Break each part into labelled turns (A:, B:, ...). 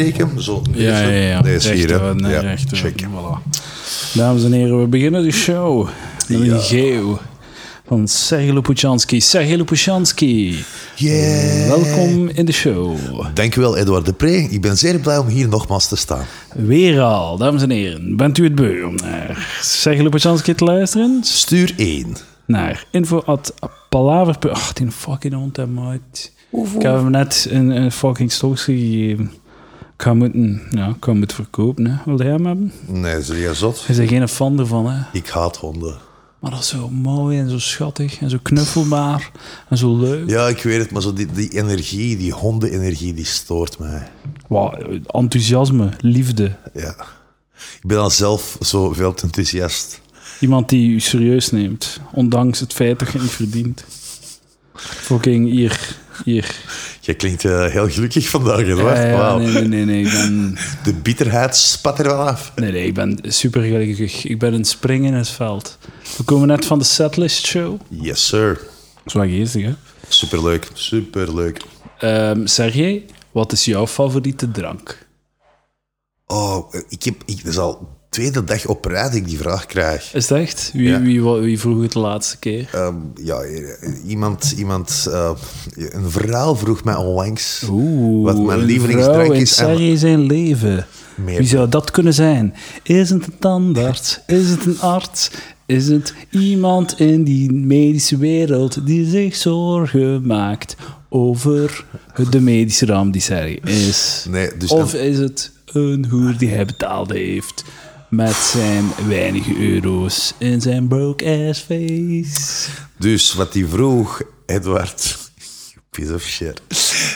A: spreken. Zo, nee,
B: Ja,
A: zo.
B: ja, ja.
A: Nee, is hier, hè.
B: Rechter, nee,
A: ja,
B: rechter.
A: check.
B: Voilà. Dames en heren, we beginnen de show met een geel van Sergej Lopushansky. Sergej Lopushansky,
A: Yeah.
B: welkom in de show.
A: Dankjewel, Edouard de Pre. Ik ben zeer blij om hier nogmaals te staan.
B: Weer al, dames en heren, bent u het beu om naar Sergej Lopushansky te luisteren?
A: Stuur 1.
B: Naar info at palaver. Ach, die fucking hond, hè, maat. Ik heb hem net een, een fucking stokje gegeven. Ik ga moeten, ja, ik ga hem moeten verkopen, hè. Wil jij hem hebben?
A: Nee, serieus zot.
B: Je bent geen fan ervan, hè.
A: Ik haat honden.
B: Maar dat is zo mooi en zo schattig en zo knuffelbaar en zo leuk.
A: Ja, ik weet het, maar zo die, die energie, die hondenenergie, die stoort mij.
B: Wauw, enthousiasme, liefde.
A: Ja. Ik ben dan zelf zo veel te enthousiast.
B: Iemand die u serieus neemt, ondanks het feit dat je het niet verdient. Fucking hier, hier.
A: Jij klinkt eh, heel gelukkig vandaag, Edouard.
B: Ja, ja,
A: Wauw.
B: nee, nee, nee, nee, ik ben,
A: De bitterheid spat er wel af.
B: nee, nee, ik ben super gelukkig. Ik ben een spring in het veld. We komen net van de setlist show.
A: Yes, sir.
B: Zwaar geestig, hè?
A: Superleuk, superleuk.
B: Ehm Sergej, wat is jouw favoriete drank?
A: Oh, ik heb, ik, dat is al de tweede dag op rij dat ik die vraag krijg.
B: Is dat echt? Wie,
A: Ja.
B: wie, wa- wie vroeg het de laatste keer?
A: Ehm, ja, eh, iemand, iemand eh, een verhaal vroeg mij onlangs.
B: Oeh,
A: Wat mijn
B: een
A: lievelingsdrank
B: vrouw in
A: is en-
B: Sarri zijn leven.
A: Meer.
B: Wie zou dat kunnen zijn? Is het een tandarts? Is het een arts? Is het iemand in die medische wereld die zich zorgen maakt over de medische ramp die Sarri is?
A: Nee, dus
B: of is het een hoer die hij betaald heeft met zijn weinige euro's in zijn broke-ass face?
A: Dus wat hij vroeg, Edward. you Piece of shit.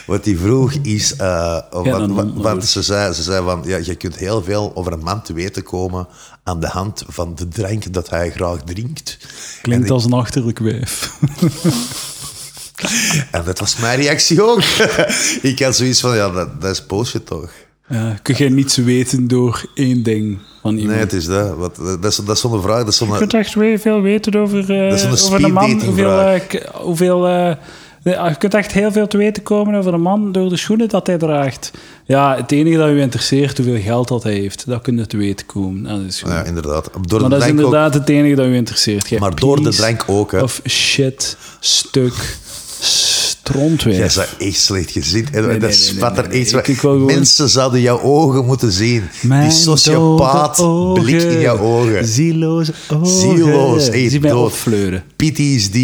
A: Wat hij vroeg is. eh, wat,
B: dan
A: wat,
B: hond,
A: wat
B: hoor.
A: ze zei, ze zei van. Ja, je kunt heel veel over een man te weten komen. aan de hand van de drank dat hij graag drinkt.
B: Klinkt
A: en,
B: als een achterlijk wijf.
A: ik- en dat was mijn reactie ook. ik had zoiets van. Ja, dat, dat is bullshit toch?
B: Ja, kun jij niets weten door één ding van iemand?
A: Nee, het is dat. Wat, dat, is, dat is zo'n vraag. Dat is zo'n.
B: Ik kunt echt weer veel weten over, eh,
A: is een
B: over een man.
A: speeddatingvraag.
B: Hoeveel, eh, k- hoeveel, eh, nee, je kunt echt heel veel te weten komen over een man door de schoenen dat hij draagt. Ja, het enige dat u interesseert, hoeveel geld dat hij heeft, dat kun je te weten komen. aan de schoenen.
A: Ja, inderdaad. Door de
B: maar dat is
A: drank ook.
B: inderdaad het enige dat u interesseert. Jij
A: Maar door de
B: piece
A: drank ook, hè?
B: Of shit, stuk, strontwijf.
A: Jij bent echt slecht gezien. En
B: nee,
A: dat
B: nee,
A: spat
B: nee,
A: er
B: nee.
A: echt
B: Ik-
A: van.
B: ik wou gewoon-
A: Mensen zouden jouw ogen moeten zien.
B: Mijn
A: Die sociopaat
B: dode
A: blik in
B: ogen.
A: jouw ogen.
B: Zieloze ogen.
A: Zieloos, hey,
B: Zie mij
A: dood.
B: opfleuren.
A: PTSD.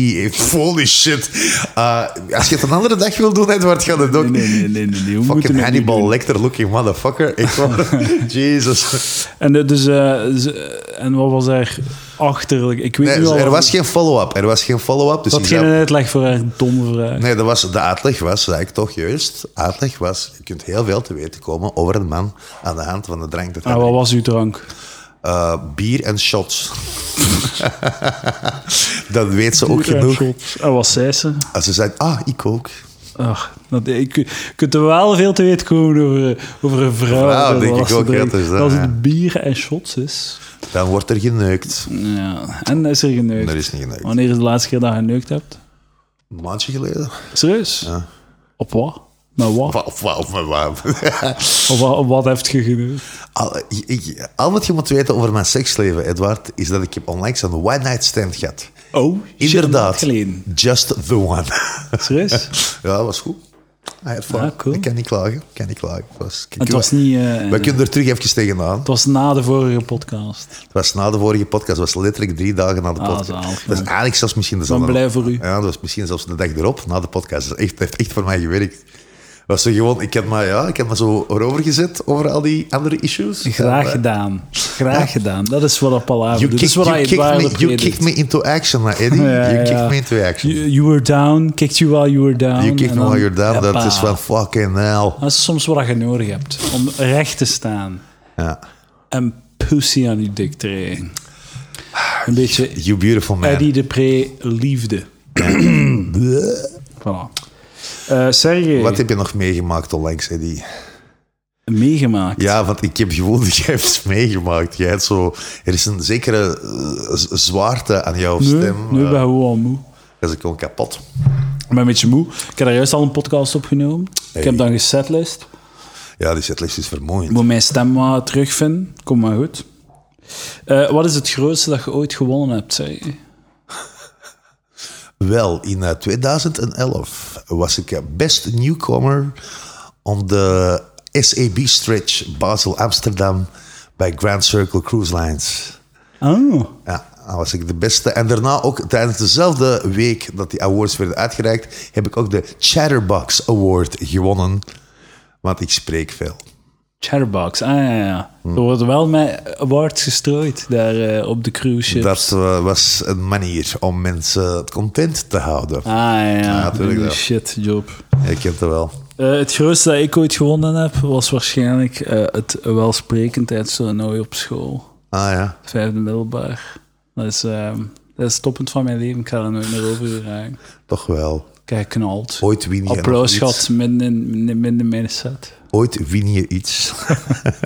A: Holy shit. Eh, als je het een andere dag wil doen, Edward, ga dat ook.
B: Nee, nee, nee, nee, nee. We moeten het
A: Fucking
B: niet
A: Hannibal
B: doen.
A: Lecter looking motherfucker. Ik wou- Jesus.
B: En, eh, dus, eh, ze- en wat was er achterlijk? Ik weet
A: Nee, dus
B: nu al.
A: er was geen follow-up. Er was geen follow-up. Dus
B: dat
A: ik
B: geen
A: zou-
B: uitleg voor haar domme vraag.
A: Nee, dat was, de uitleg was, zei ik toch juist, uitleg was, je kunt heel veel te weten komen over een man aan de hand van de drank. Dat hij
B: Ah, wat
A: drinkt.
B: was uw drank?
A: Eh, bier en shots. dat weet ze ook genoeg.
B: En Ah, wat zei ze?
A: Als ze zei, ah, ik ook.
B: Ach, dat, ik, je kunt er wel veel te weten komen over, over een vrouw.
A: Vrouw,
B: dat
A: denk
B: was
A: ik ook,
B: de
A: ja,
B: drank.
A: dus dat,
B: als
A: ja.
B: het bier en shots is.
A: Dan wordt er geneukt.
B: Ja. En is er geneukt.
A: Er is niet geneukt.
B: Wanneer is de laatste keer dat je geneukt hebt?
A: Een maandje geleden.
B: Serieus? Op wat? Met wat?
A: Of, of, of, of-
B: Op wat, op wat heeft je geneukt?
A: Al, ik- ik- al wat je moet weten over mijn seksleven, Edward, is dat ik heb onlangs een one-night stand gehad.
B: Oh, shit,
A: Inderdaad.
B: Geleden.
A: Just the one.
B: Serieus?
A: Ja, dat was goed. Hij had fun.
B: Ah, cool.
A: Ik kan niet klagen. Ik kan niet klagen. Het was, ik-
B: Het
A: ik-
B: was niet... eh,
A: we kunnen er terug even tegenaan.
B: Het was na de vorige podcast.
A: Het was na de vorige podcast. Het was letterlijk drie dagen na de
B: Ah,
A: podcast.
B: zalig,
A: dat is
B: man.
A: eigenlijk zelfs misschien dezelfde.
B: blij voor u.
A: Ja, dat was misschien zelfs de dag erop, na de podcast. Dat is echt, heeft echt voor mij gewerkt. Was zo gewoon, ik heb me, ja, ik heb me zo erover gezet over al die andere issues.
B: Graag
A: Ja,
B: gedaan. Graag gedaan. Dat is wat Appalaver
A: You
B: doet. Dat
A: kicked,
B: is wat
A: you
B: hij
A: kicked
B: waarde
A: me, you
B: predikt.
A: kicked me into action, hè, Eddie.
B: Ja,
A: you
B: ja.
A: kicked me into action. You,
B: You, you were down. Kicked you while you were down.
A: kicked
B: En
A: me
B: dan-
A: while you're down. Dat
B: Hoppa.
A: is wel fucking hell.
B: Dat is soms wat je nodig hebt. Om recht te staan.
A: Ja.
B: En pussy aan je dik te rijden. Een beetje
A: You beautiful man.
B: Eddie Eh, de Pre liefde. Voilà. Eh Sergej,
A: Wat heb je nog meegemaakt onlangs, Eddie?
B: meegemaakt.
A: Ja, want ik heb het gevoel dat jij hebt meegemaakt. Jij hebt zo, er is een zekere eh, z- zwaarte aan jouw
B: Nu,
A: stem.
B: nu
A: eh,
B: ben je gewoon moe.
A: dat is gewoon kapot.
B: Ik ben een beetje moe. Ik heb daar juist al een podcast opgenomen. Ik heb dan gesetlist.
A: Ja, die setlist is vermoeiend.
B: Moet mijn stem maar terugvinden. Kom maar goed. Eh, wat is het grootste dat je ooit gewonnen hebt, zei je?
A: Wel, in eh, 2011 was ik eh, best newcomer op de SAB stretch Basel-Amsterdam bij Grand Circle Cruise Lines.
B: Oh.
A: Ja, dan was ik de beste. En daarna ook tijdens dezelfde week dat die awards werden uitgereikt, heb ik ook de Chatterbox Award gewonnen. Want ik spreek veel.
B: Chatterbox, ah ja, ja.
A: Hm.
B: Er wordt wel met awards gestrooid daar eh, op de cruise ship.
A: Dat eh, was een manier om mensen content te houden.
B: Ah ja,
A: natuurlijk
B: Holy
A: wel.
B: shit job.
A: Je kent het wel.
B: Eh, het grootste dat ik ooit gewonnen heb, was waarschijnlijk eh het welsprekendheidstoernooi op school.
A: Ah ja.
B: Vijfde middelbaar. Dat is, ehm, dat is het toppunt van mijn leven. Ik ga er nooit meer over geraken.
A: Toch wel.
B: Kijk, knalt.
A: Ooit win je nog
B: Applaus
A: iets.
B: gehad midden in, midden- midden in mijn set.
A: Ooit win je iets.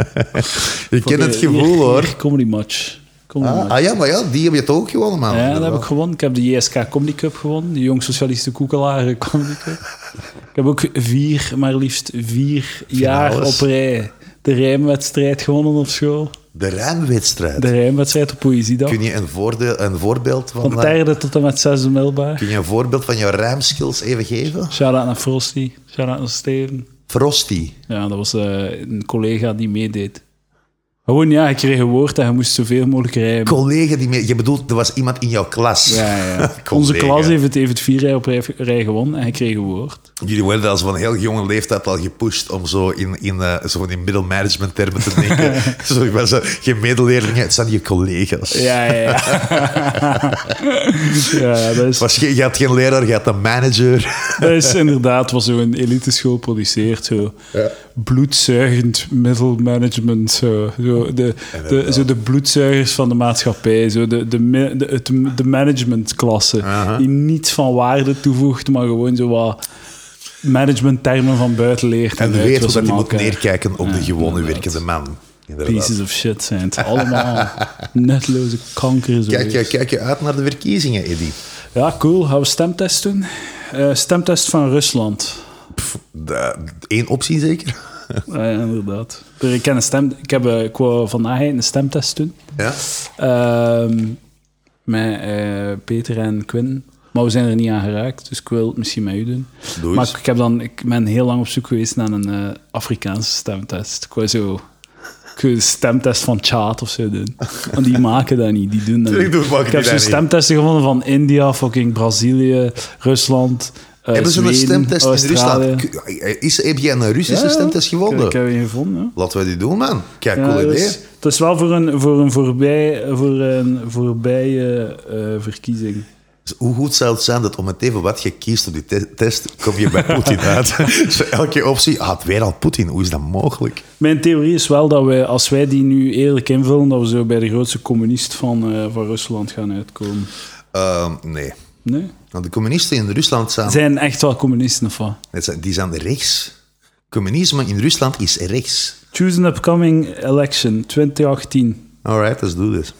A: je kent het
B: Hier-
A: gevoel
B: hier-
A: hoor.
B: hier, Comedy match. Comedy
A: Ah,
B: match.
A: ah ja, maar ja, die heb je toch ook gewonnen, man.
B: Ja, dat heb ik gewonnen. Ik heb de JSK Comedy Cup gewonnen. De Jong Socialisten Koekelaren Comedy Cup. ik heb ook vier, maar liefst vier jaar op rij de rijmwedstrijd gewonnen op school.
A: De ruimwedstrijd.
B: De rijmwedstrijd op Poëziedag.
A: Kun je een, voordeel, een voorbeeld van...
B: Van
A: eh,
B: derde tot en met zesde middelbaar.
A: kun je een voorbeeld van jouw ruimskills even geven?
B: Shout-out naar Frosty. Shout-out naar Steven.
A: Frosty.
B: Ja, dat was eh, een collega die meedeed. Gewoon, ja, ik kreeg een woord en je moest zoveel mogelijk rijmen.
A: Collega die mee... Je bedoelt, er was iemand in jouw klas.
B: Ja, ja. Onze
A: Collega.
B: klas heeft het, heeft het vier rij op rij, rij gewonnen en hij kreeg een woord.
A: Jullie werden als van een heel jonge leeftijd al gepusht om zo in, in, eh, zo van die middelmanagement termen te denken. zo, ik was zo, geen medeleerlingen, het zijn je collega's.
B: Ja, ja, ja. ja dat, is,
A: Het Was geen, je had geen leraar, je had een manager.
B: dat is Dus inderdaad wat zo'n eliteschool produceert. Zo. Bloedzuigend middelmanagement. Zo. Zo, de, de, zo de bloedzuigers van de maatschappij. Zo de, de, ma- de, het- de managementklasse. Die niets van waarde toevoegt, maar gewoon zo wat managementtermen van buiten leert.
A: En
B: weet
A: weet
B: wat
A: hoe
B: ze
A: dat je moet
B: maken.
A: neerkijken op de gewone
B: inderdaad.
A: werkende man. Inderdaad.
B: Pieces of shit zijn het. Allemaal nutloze kankers.
A: Kijk, je, kijk je uit naar de verkiezingen, Eddy.
B: Ja, cool. Gaan we stemtest doen? Eh, stemtest van Rusland.
A: Eén optie zeker?
B: Ah, ja, inderdaad. Dus ik, ken een stem, ik, heb, eh, ik wou vandaag een stemtest doen.
A: Ja.
B: Ehm, met eh, Peter en Quinn. Maar we zijn er niet aan geraakt, dus ik wil het misschien met u doen.
A: Doe
B: maar
A: eens.
B: ik, ik heb dan, ik ben heel lang op zoek geweest naar een eh, Afrikaanse stemtest. Ik wou zo... Ik wou een stemtest van Tjaat of zo doen. Want die maken dat niet, die doen dat
A: Tuurlijk
B: niet.
A: doen- maken
B: ik
A: die
B: heb zo'n
A: dat niet.
B: stemtesten gevonden van India, fucking Brazilië, Rusland, eh,
A: Hebben ze een
B: Zweden,
A: stemtest in
B: Australië.
A: Rusland? K- Is, heb jij een Russische
B: Ja,
A: stemtest
B: Ik, ik
A: gewonnen?
B: heb je gevonden, ja.
A: Laten we die doen, man. Kijk,
B: Ja,
A: cool
B: dat
A: idee.
B: is- Het is wel voor een, voor een, voorbij, voor een voorbije eh, verkiezing.
A: Dus hoe goed zou het zijn dat om het even wat je kiest op die te- test, kom je bij Poetin uit? Zo elke optie, ah, het weer al Poetin, hoe is dat mogelijk?
B: Mijn theorie is wel dat wij, als wij die nu eerlijk invullen, dat we zo bij de grootste communist van, eh, van Rusland gaan uitkomen.
A: Ehm, nee.
B: Nee?
A: Want de communisten in Rusland zijn,
B: Zijn echt wel communisten of wat?
A: het zijn- die zijn rechts. Communisme in Rusland is rechts.
B: Choose an upcoming election 2018.
A: Alright, let's do this.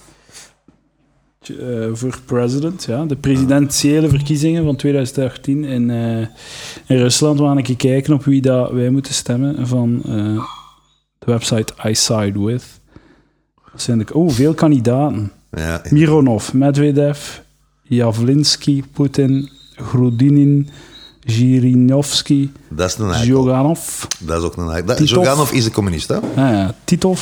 B: eh, voor president, ja. De presidentiële verkiezingen van 2018 in, eh, in Rusland. We gaan een keer kijken op wie dat wij moeten stemmen van eh, de website I Side With. Dat zijn de, oh, veel kandidaten.
A: Ja, en-
B: Mironov, Medvedev, Javlinsky, Poetin, Grudinin, Zhirinovsky,
A: dat is een eikel.
B: Zyoganov,
A: Dat is ook een eikel. Dat-
B: Titov.
A: Zhuganov is een communist, hè?
B: ah ja, Titov,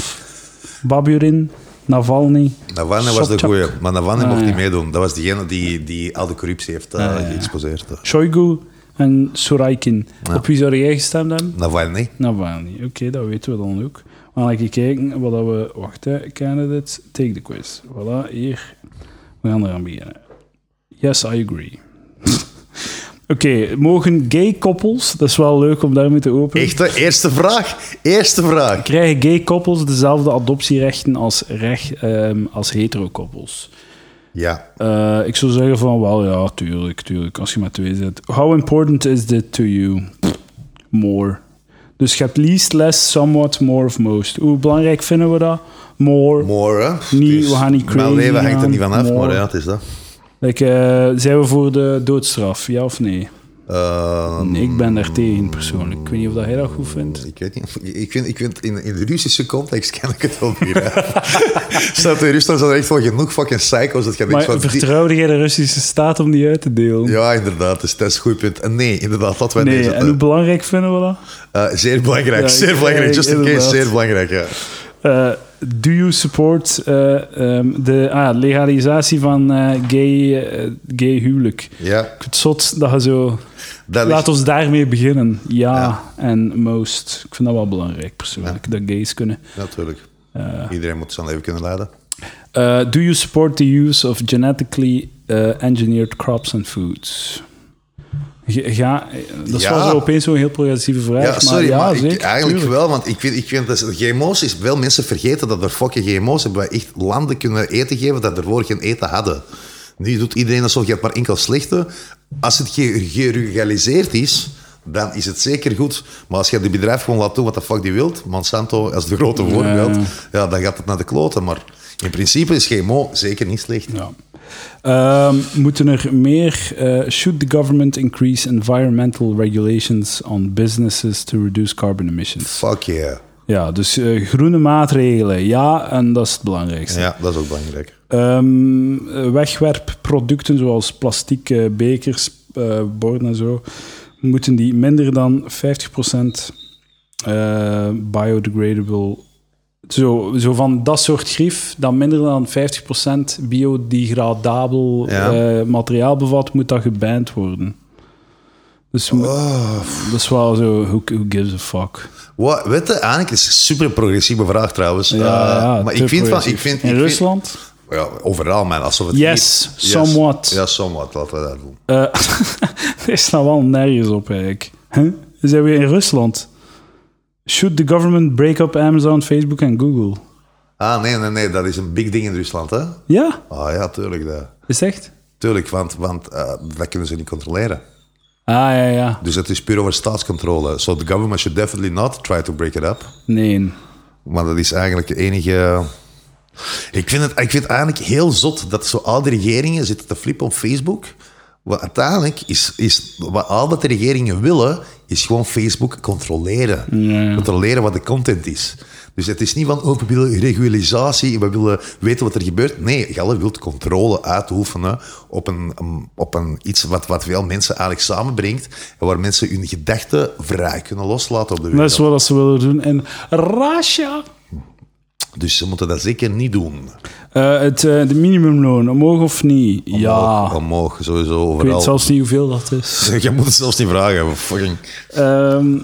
B: Baburin, Navalny.
A: Navalny was de
B: Sobchak.
A: goeie, maar Navalny
B: Ah,
A: mocht niet
B: ja.
A: meedoen. Dat was diegene die, die al de corruptie heeft eh,
B: Ah, ja.
A: geëxposeerd. hè.
B: Shoigu en Suraikin. Op wie zou jij gestemd hebben?
A: Navalny.
B: Navalny. Nou, Oké, dat weten we dan ook. We gaan even kijken wat dat we... Wacht, hè. Candidates, take the quiz. Voilà, hier. We gaan eraan beginnen. Yes, I agree. Oké, mogen gay koppels... Dat is wel leuk om daarmee te openen.
A: Echt, hè? eerste vraag. Eerste vraag.
B: Krijgen gay koppels dezelfde adoptierechten als, recht, ehm, als hetero koppels?
A: Ja.
B: Eh, ik zou zeggen van, wel ja, tuurlijk, tuurlijk. Als je maar twee zit. How important is this to you? Pff, More. Dus je hebt least, less, somewhat, more of most. Hoe belangrijk vinden we dat? More.
A: More, hè?
B: Niet-
A: Het is-
B: we gaan niet
A: Mijn
B: crazy
A: leven hangt er
B: gaan,
A: niet van af,
B: more.
A: maar ja, het is dat.
B: Like, eh, zijn we voor de doodstraf, ja of nee?
A: Ehm,
B: Nee, ik ben daar tegen persoonlijk. Ik weet niet of dat jij dat goed vindt.
A: Ik weet niet. Ik vind, ik vind in, in de Russische context ken ik het wel weer. hè. Staat in Rusland zijn er echt wel genoeg fucking psychos dat je denkt
B: Maar
A: van... die-
B: vertrouwde jij de Russische staat om die uit te delen?
A: Ja, inderdaad. Dus dat is een goed punt. En nee, inderdaad, laten wij
B: nee,
A: deze...
B: en hoe belangrijk vinden we dat?
A: eh, zeer belangrijk,
B: Ja, ik-
A: zeer belangrijk.
B: ja,
A: Just in case,
B: inderdaad.
A: zeer belangrijk, ja.
B: Eh, do you support eh, ehm, de ah, legalisatie van eh, gay, eh, gay huwelijk?
A: Ja,
B: Ik vind het zot dat je zo...
A: dat
B: Laat
A: ligt,
B: ons daarmee beginnen. Ja,
A: Ja.
B: en most. Ik vind dat wel belangrijk persoonlijk, dat gays kunnen.
A: natuurlijk. Iedereen moet zijn leven kunnen leiden.
B: Eh, do you support the use of genetically eh, engineered crops and foods? Ge- Ga, eh, dat is
A: Ja.
B: wel zo opeens zo'n heel progressieve vraag.
A: Ja, sorry,
B: maar,
A: maar,
B: ja,
A: ik-
B: zeker,
A: eigenlijk
B: tuurlijk.
A: wel, want ik vind, ik vind dat GMO's is wel mensen vergeten dat er fucking GMO's hebben. Wij echt landen kunnen eten geven dat ervoor geen eten hadden. Nu doet iedereen alsof je het maar enkel slechte. Als het ge- geregaliseerd is, dan is het zeker goed. Maar als je het bedrijf gewoon laat doen wat de fuck die wilt, Monsanto als de grote voorbeeld, ja. dan gaat het naar de kloten. Maar in principe is GMO zeker niet slecht.
B: Ja. Ehm, moeten er meer... eh, should the government increase environmental regulations on businesses to reduce carbon emissions?
A: Fuck yeah.
B: Ja, dus eh, groene maatregelen. Ja, en dat is het belangrijkste.
A: Ja, dat is ook belangrijk.
B: Ehm, eh, wegwerpproducten zoals plastic, eh, bekers, eh, borden en zo, moeten die minder dan 50% eh, biodegradable. Zo, zo van dat soort grief, dat minder dan 50% biodegradabel
A: Ja.
B: eh, materiaal bevat, moet dat geband worden. Dus mo-
A: Oh.
B: dat is wel zo, who, who gives a fuck.
A: Wat, weet je, eigenlijk is het een super progressieve vraag trouwens.
B: Ja,
A: Eh,
B: ja,
A: maar
B: te
A: ik vind, van, ik
B: progressief.
A: vind
B: In
A: ik vind- Oh
B: Rusland?
A: Ja, overal, man. Alsof het
B: Yes,
A: niet-
B: somewhat.
A: Ja, somewhat. Laten we dat doen.
B: Eh, er is nou wel nergens op eigenlijk. Huh? We zijn weer in Rusland. Should the government break up Amazon, Facebook en Google?
A: Ah, nee, nee, nee. Dat is een big ding in Rusland, hè?
B: Ja,
A: Ah, ja, tuurlijk. Dat.
B: is het echt?
A: Tuurlijk, want, want eh, dat kunnen ze niet controleren.
B: Ah, ja, ja.
A: Dus het is puur over staatscontrole. So the government should definitely not try to break it up.
B: Nee.
A: Maar dat is eigenlijk de enige... Ik vind, het, ik vind het eigenlijk heel zot dat zo oude regeringen zitten te flippen op Facebook. Wat uiteindelijk is, is wat al dat de regeringen willen, is gewoon Facebook controleren. Controleren wat de content is. Dus het is niet van, oh, we willen regularisatie, we willen weten wat er gebeurt. Nee, Galle wilt controle uitoefenen op, een, op een, iets wat, wat veel mensen eigenlijk samenbrengt. En waar mensen hun gedachten vrij kunnen loslaten op de
B: Dat
A: wereld.
B: is wat ze willen doen in Russia.
A: Dus ze moeten dat zeker niet doen.
B: Eh, het, eh, de minimumloon, omhoog of niet? Ja.
A: Omhoog, omhoog, sowieso
B: Ik weet
A: overal.
B: zelfs niet hoeveel dat is.
A: Je moet het zelfs niet vragen. Fucking.
B: Ehm,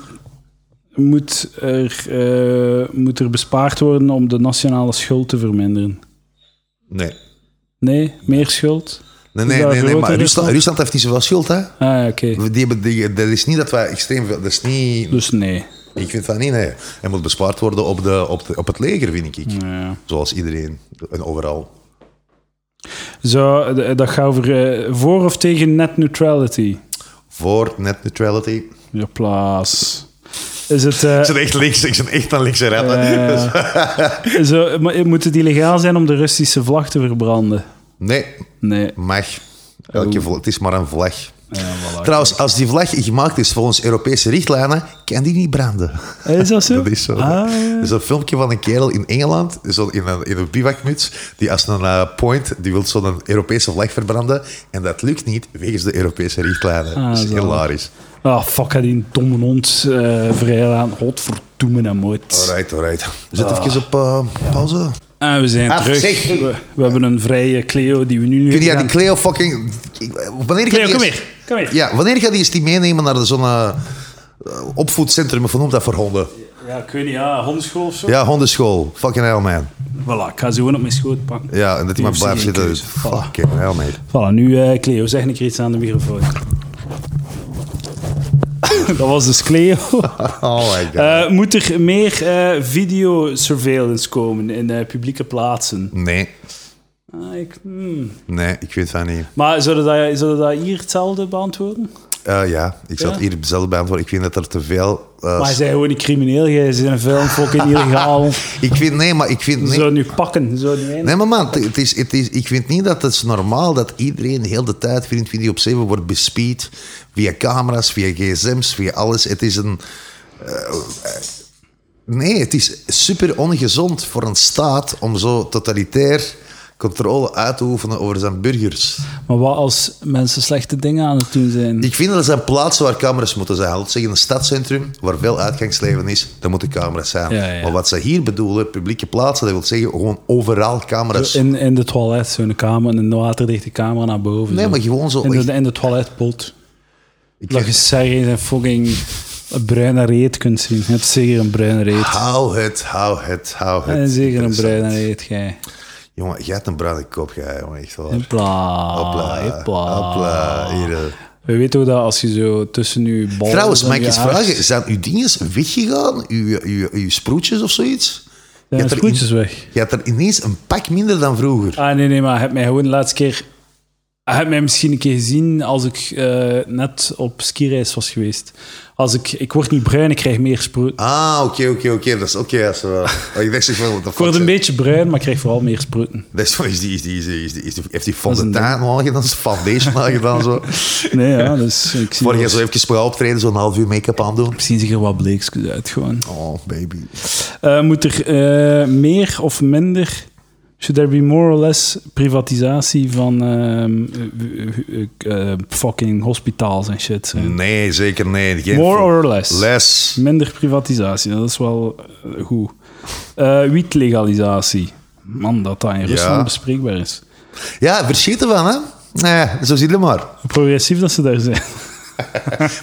B: moet, er, eh, moet er bespaard worden om de nationale schuld te verminderen?
A: Nee.
B: Nee? Meer schuld?
A: Nee,
B: Is
A: nee,
B: dat
A: nee, nee,
B: groot
A: maar
B: in
A: Rusland,
B: Rusland?
A: Rusland heeft niet zoveel schuld, hè?
B: Ah, ja, oké.
A: Die hebben, die, dat is niet dat wij extreem veel... Dat is niet...
B: Dus nee.
A: Ik vind dat niet, nee. Er moet bespaard worden op, de, op, de, op het leger, vind ik.
B: Ja.
A: Zoals iedereen en overal.
B: Zo, d- dat gaat over eh, voor of tegen net neutrality.
A: Voor net neutrality.
B: Ja, plaats. Is het... eh,
A: Ik ben echt links, ik ben echt aan linkse ratten.
B: eh, zo, maar moet het illegaal zijn om de Russische vlag te verbranden?
A: Nee,
B: Nee.
A: mag. Elke
B: Oh.
A: vla- het is maar een vlag.
B: Ja, voilà.
A: Trouwens, als die vlag gemaakt is volgens Europese richtlijnen, kan die niet branden.
B: Is dat zo?
A: Dat is zo.
B: Ah,
A: Er is een filmpje van een kerel in Engeland, zo in een, in een bivakmuts, die als een eh, point, die wil zo'n Europese vlag verbranden. En dat lukt niet wegens de Europese richtlijnen.
B: Ah,
A: dat is
B: zo.
A: hilarisch.
B: ah, fuck, had die domme hond eh vrijlaan. Godverdomme dat nooit.
A: Alright, alright. Zet
B: Ah.
A: even op eh, pauze.
B: En we zijn
A: Ah,
B: terug.
A: zeg.
B: We, we hebben een vrije Cleo die we nu...
A: Kun jij
B: gaan-
A: die Cleo fucking... ik- Wanneer gaat
B: Cleo,
A: die
B: kom
A: eens-
B: hier. Kom hier.
A: Ja, wanneer gaat die eens die meenemen naar zo'n eh, opvoedcentrum, of hoe noemt dat voor honden?
B: Ja, ik weet niet, ja, hondenschool of zo.
A: Ja, hondenschool. Fucking hell, man.
B: Voilà, ik ga ze gewoon op mijn schoot pakken.
A: Ja, en dat
B: Die
A: die maar
B: heeft
A: blijft
B: geen
A: zitten.
B: keuze. Voilà.
A: Fucking hell, man.
B: Voilà, nu eh, Cleo, zeg een keer iets aan de microfoon. Dat was dus Cleo.
A: Oh my god.
B: Eh, moet er meer video videosurveillance komen in eh, publieke plaatsen?
A: nee,
B: Ah, ik, hmm.
A: nee, ik weet dat niet.
B: Maar zullen dat, zullen dat hier hetzelfde beantwoorden?
A: Eh, ja, ik zat
B: Ja?
A: hier zelf bij antwoorden. Ik vind dat er te veel... eh,
B: Maar hij zei gewoon een crimineel, jij zit in een film, fucking illegaal.
A: ik vind... Nee, maar ik vind...
B: Ze
A: Nee,
B: Zo nu pakken, zo nu een.
A: nee maar man, het- het is, het is, ik vind niet dat het is normaal dat iedereen heel de tijd 24 op 7 wordt bespied. Via camera's, via gsm's, via alles. Het is een... eh, nee, het is super ongezond voor een staat om zo totalitair controle uit te oefenen over zijn burgers.
B: Maar wat als mensen slechte dingen aan het doen zijn?
A: Ik vind dat er zijn plaatsen waar camera's moeten zijn. Laten we zeggen, een stadscentrum waar veel uitgangsleven is, daar moeten camera's zijn.
B: Ja, ja.
A: Maar wat ze hier bedoelen, publieke plaatsen, dat wil zeggen gewoon overal camera's.
B: In, in de toilet, zo'n kamer, een waterdichte kamer naar boven.
A: Nee,
B: zo.
A: maar gewoon zo.
B: In
A: Ik,
B: de, in de toiletpot.
A: ik
B: Dat je zeker een fucking bruine reet kunt zien. Je hebt zeker een bruine reet.
A: hou het, hou het, hou het.
B: En zeker een
A: Interessant.
B: bruine reet, jij.
A: Jongen, jij hebt een bruine kop, jij, jongen, echt waar.
B: Hopla,
A: Hopla,
B: hopla.
A: hopla, hier, eh.
B: We weten ook dat als je zo tussen je ballen...
A: Trouwens,
B: en
A: mag ik
B: je
A: eens
B: hart-
A: vragen, zijn uw dinges weggegaan? Uw, uw, uw sproetjes of zoiets? Je
B: Zijn
A: had
B: de
A: er in-
B: sproetjes weg?
A: Je had er ineens een pak minder dan vroeger.
B: Ah, nee, nee, maar hij heeft mij gewoon de laatste keer... Hij heeft mij misschien een keer gezien als ik eh, net op skireis was geweest. Als ik... Ik word niet bruin, ik krijg meer sproet.
A: Ah, oké, oké, oké. Dat is oké. dat is wel- Oh, ik dacht zo van, wat de
B: Ik word
A: fuck,
B: een beetje bruin, maar ik krijg vooral meer sproeten.
A: Dat is, is, die, is, die, is, die, is die, is die- heeft die
B: is een
A: fondant al gedaan, is foundation al gedaan. Zo.
B: Nee, ja, dus ik zie...
A: Voor
B: wel-
A: je zo even voor optreden, zo'n half uur make-up aandoen.
B: Ik zie er wat bleekjes uit, gewoon.
A: Oh, baby.
B: Eh, moet er eh, meer of minder... Should there be more or less privatisatie van ehm, eh, eh, eh, fucking hospitaals en shit?
A: Nee, zeker nee. Geen
B: More
A: vo-
B: or less?
A: less.
B: Minder privatisatie, dat is wel eh, goed. Eh, wietlegalisatie. Man, dat dat in Rusland
A: Ja.
B: bespreekbaar is.
A: Ja, verschiet ervan, hè? Nee, zo zie je maar.
B: Hoe Progressief dat ze daar zijn.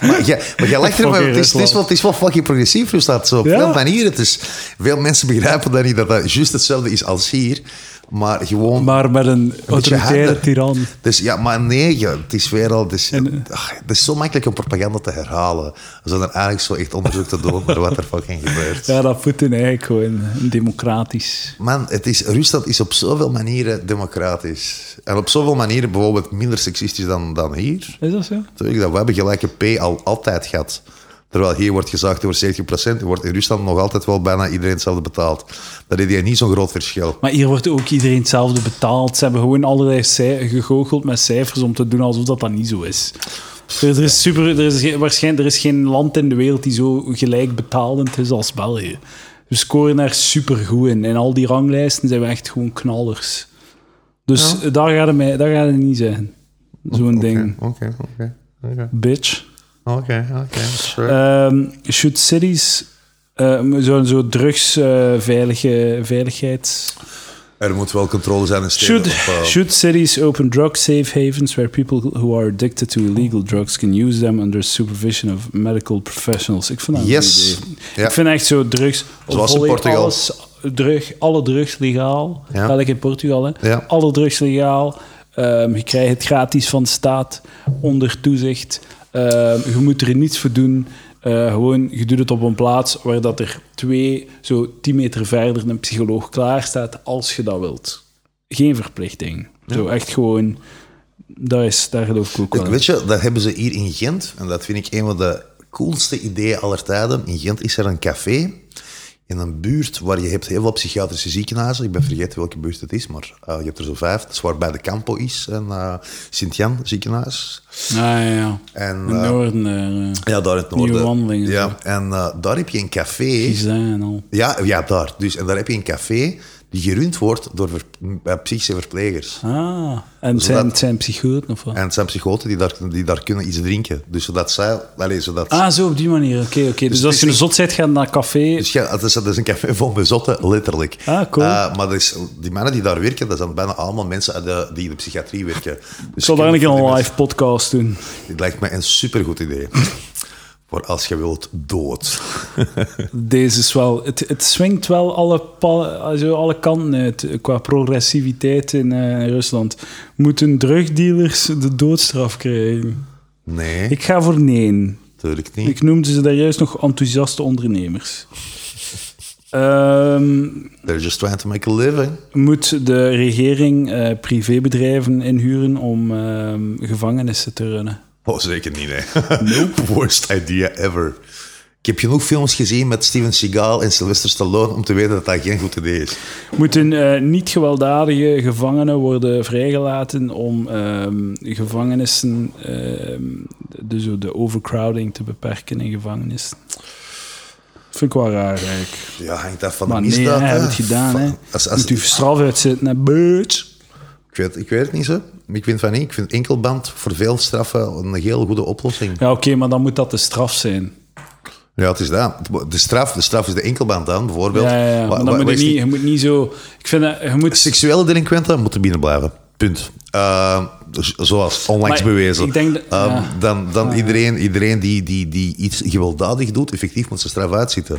A: Maar jij, maar jij lacht er maar,
B: Fucking
A: het is, het, is wel, het is wel fucking progressief, Rusland. Zo, op
B: Ja?
A: veel manieren. Het is, veel mensen begrijpen dat niet, dat dat juist hetzelfde is als hier. Maar gewoon...
B: Maar met een autoritaire
A: harder.
B: tiran.
A: Dus ja, maar nee, ja, het is weer al. Het is,
B: En, eh,
A: ach, het is zo makkelijk om propaganda te herhalen. Zonder eigenlijk zo echt onderzoek te doen naar wat er fucking gebeurt.
B: Ja, dat Poetin eigenlijk gewoon democratisch.
A: Man, het is, Rusland is op zoveel manieren democratisch. En op zoveel manieren bijvoorbeeld minder seksistisch dan, dan hier.
B: Is dat zo?
A: Tuurlijk, dat we hebben gelijke P al altijd gehad. Terwijl hier wordt gezagd over 70%, wordt in Rusland nog altijd wel bijna iedereen hetzelfde betaald. Dat is hier niet zo'n groot verschil.
B: Maar hier wordt ook iedereen hetzelfde betaald. Ze hebben gewoon allerlei cij- gegoocheld met cijfers om te doen alsof dat, dat niet zo is. Er, er is super, er, is geen, waarschijn- er is geen land in de wereld die zo gelijk betalend is als België. We scoren daar super goed in. In al die ranglijsten zijn we echt gewoon knallers. Dus eh, daar gaat het, mij, daar gaat het niet zijn. Zo'n ding.
A: Oké, oké, oké.
B: Bitch.
A: Oké, oké, sure.
B: Ehm, should cities. eh, zo'n zo drugs, eh, veilige, veiligheids.
A: Er moet wel controle zijn in steden.
B: Should,
A: op, eh,
B: should cities open drug safe havens where people who are addicted to illegal drugs can use them under supervision of medical professionals? Ik vind dat een
A: Yes.
B: goed idee.
A: Ja.
B: Ik vind echt zo drugs.
A: Zoals in
B: volledig
A: Portugal.
B: Alles, drug, alle drugs legaal.
A: Ja.
B: Gelijk in Portugal, hè?
A: Ja.
B: Alle drugs legaal. Ehm, je krijgt het gratis van de staat onder toezicht. Ehm, je moet er niets voor doen. Eh, gewoon, je doet het op een plaats waar dat er twee, zo tien meter verder, een psycholoog klaar staat als je dat wilt geen verplichting. Zo echt gewoon, dat is, daar geloof ik ook wel.
A: Het-
B: in.
A: Weet je, dat hebben ze hier in Gent. En dat vind ik een van de coolste ideeën aller tijden. In Gent is er een café in een buurt waar je hebt heel veel psychiatrische ziekenhuizen. Ik ben vergeten welke buurt het is, maar eh, je hebt er zo vijf. Dat is waar bij de Campo is, en eh Sint-Jan ziekenhuis.
B: Ah, ja, ja.
A: En,
B: In het
A: eh,
B: noorden daar. eh,
A: ja, daar in het
B: Nieuwe
A: noorden.
B: wandelingen.
A: Ja, en eh, daar heb je een café.
B: Die zijn al.
A: Ja, ja, daar. Dus, en daar heb je een café die gerund wordt door ver- eh, psychische verplegers.
B: Ah, en het zijn,
A: dat-
B: het zijn psychoten of wat?
A: En het zijn psychoten die daar, die daar kunnen iets drinken. Dus zodat zij... Allez, zodat
B: Ah, zo op die manier. Oké, oké. Dus,
A: het
B: als
A: is
B: je een
A: niet-
B: zot bent, gaat naar een café.
A: Dus ja, het is, het is een café vol met zotten, letterlijk.
B: Ah, cool.
A: Eh, maar dat is, die mannen die daar werken, dat zijn bijna allemaal mensen uit de, die in de psychiatrie werken.
B: Ik
A: Dus
B: zal
A: je
B: daar een
A: kunt
B: keer
A: die
B: een
A: mensen-
B: live podcast doen.
A: Dit lijkt me een supergoed idee. Voor als je wilt dood.
B: Deze is wel... Het, het swingt wel alle, pa- zo alle kanten uit eh, qua progressiviteit in eh, Rusland. Moeten drugdealers de doodstraf krijgen?
A: Nee,
B: Ik ga voor nee.
A: natuurlijk niet.
B: Ik noemde ze daar juist nog enthousiaste ondernemers. Ehm,
A: They're just trying to make a living.
B: moet de regering eh, privébedrijven inhuren om ehm, gevangenissen te runnen?
A: Oh, zeker niet, nee. Nope. Worst idea ever. Ik heb genoeg films gezien met Steven Seagal en Sylvester Stallone om te weten dat dat geen goed idee is.
B: Moeten eh, niet-gewelddadige gevangenen worden vrijgelaten om ehm, gevangenissen, ehm, dus de overcrowding te beperken in gevangenissen? Vind ik wel raar eigenlijk.
A: Ja, hangt af van
B: Maar
A: de
B: nee,
A: misdaad.
B: hij
A: hè.
B: heeft het gedaan. Hè.
A: Van- Als, als,
B: Moet u straf uitzitten, hè, bitch.
A: ik, weet, ik weet het niet zo. Ik vind van niet. Ik vind enkelband voor veel straffen een heel goede oplossing.
B: Ja, oké, maar dan moet dat de straf zijn.
A: Ja, het is dat. De straf, de straf is de enkelband dan, bijvoorbeeld.
B: Ja, ja, ja.
A: Wa-
B: Maar
A: wa-
B: dan moet
A: wat
B: je,
A: is
B: niet,
A: die-
B: je moet niet zo... Ik vind dat... Je moet...
A: Seksuele delinquenten moeten binnen blijven. Punt. Eh, z- zoals onlangs
B: Maar
A: bewezen.
B: ik denk dat-
A: Eh,
B: ja.
A: Dan, dan iedereen, iedereen die, die, die iets gewelddadig doet, effectief moet zijn straf uitzitten.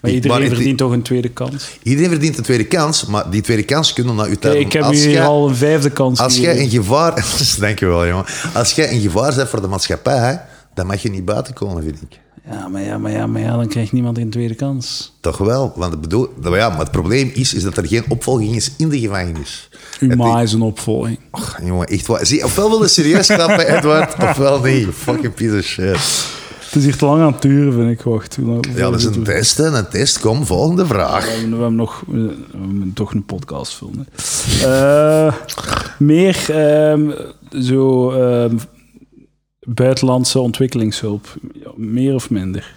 B: Maar
A: Ik-
B: iedereen
A: het-
B: verdient toch een tweede kans?
A: iedereen verdient een tweede kans, maar die tweede kans kunnen naar uw tijd.
B: ik heb
A: als
B: u hier
A: jij-
B: al een vijfde kans dus-
A: Als jij
B: gegeven.
A: in gevaar... Dankjewel, jongen. Als jij in gevaar bent voor de maatschappij, dan mag je niet buiten komen, vind ik.
B: Ja, maar ja, maar ja, maar ja, dan krijgt niemand een tweede kans.
A: Toch wel? Want ik bedoel, nou ja, maar het probleem is, is dat er geen opvolging is in de gevangenis.
B: Uw
A: Het-
B: ma is een opvolging.
A: Och, jongen, echt waar. Zie, ofwel wil je serieus klappen, Edward, ofwel niet. You Fucking piece of shit.
B: Het is hier te lang aan het duren, vind ik. Wacht, hoe lang-
A: Ja, dat is een
B: we,
A: test, hè. Een test. Kom, volgende vraag.
B: hebben, we hebben nog we, hebben toch een podcast filmen. Eh, meer ehm, zo ehm, buitenlandse ontwikkelingshulp. Meer of minder?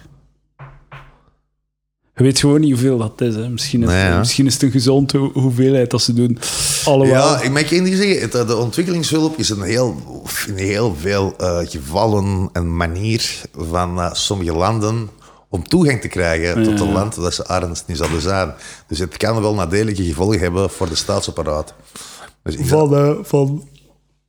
B: Je weet gewoon niet hoeveel dat is. Hè. Misschien, is
A: Nee, hè.
B: misschien is het een gezonde hoe- hoeveelheid dat ze doen. Alhoewel,
A: Ja, ik mag één ding zeggen. Het, eh, de ontwikkelingshulp is een heel, in heel veel eh, gevallen een manier van eh, sommige landen om toegang te krijgen tot een land dat ze arendst niet zouden zijn. Dus het kan wel nadelige gevolgen hebben voor de staatsapparaat. Dus ik-
B: van, eh, van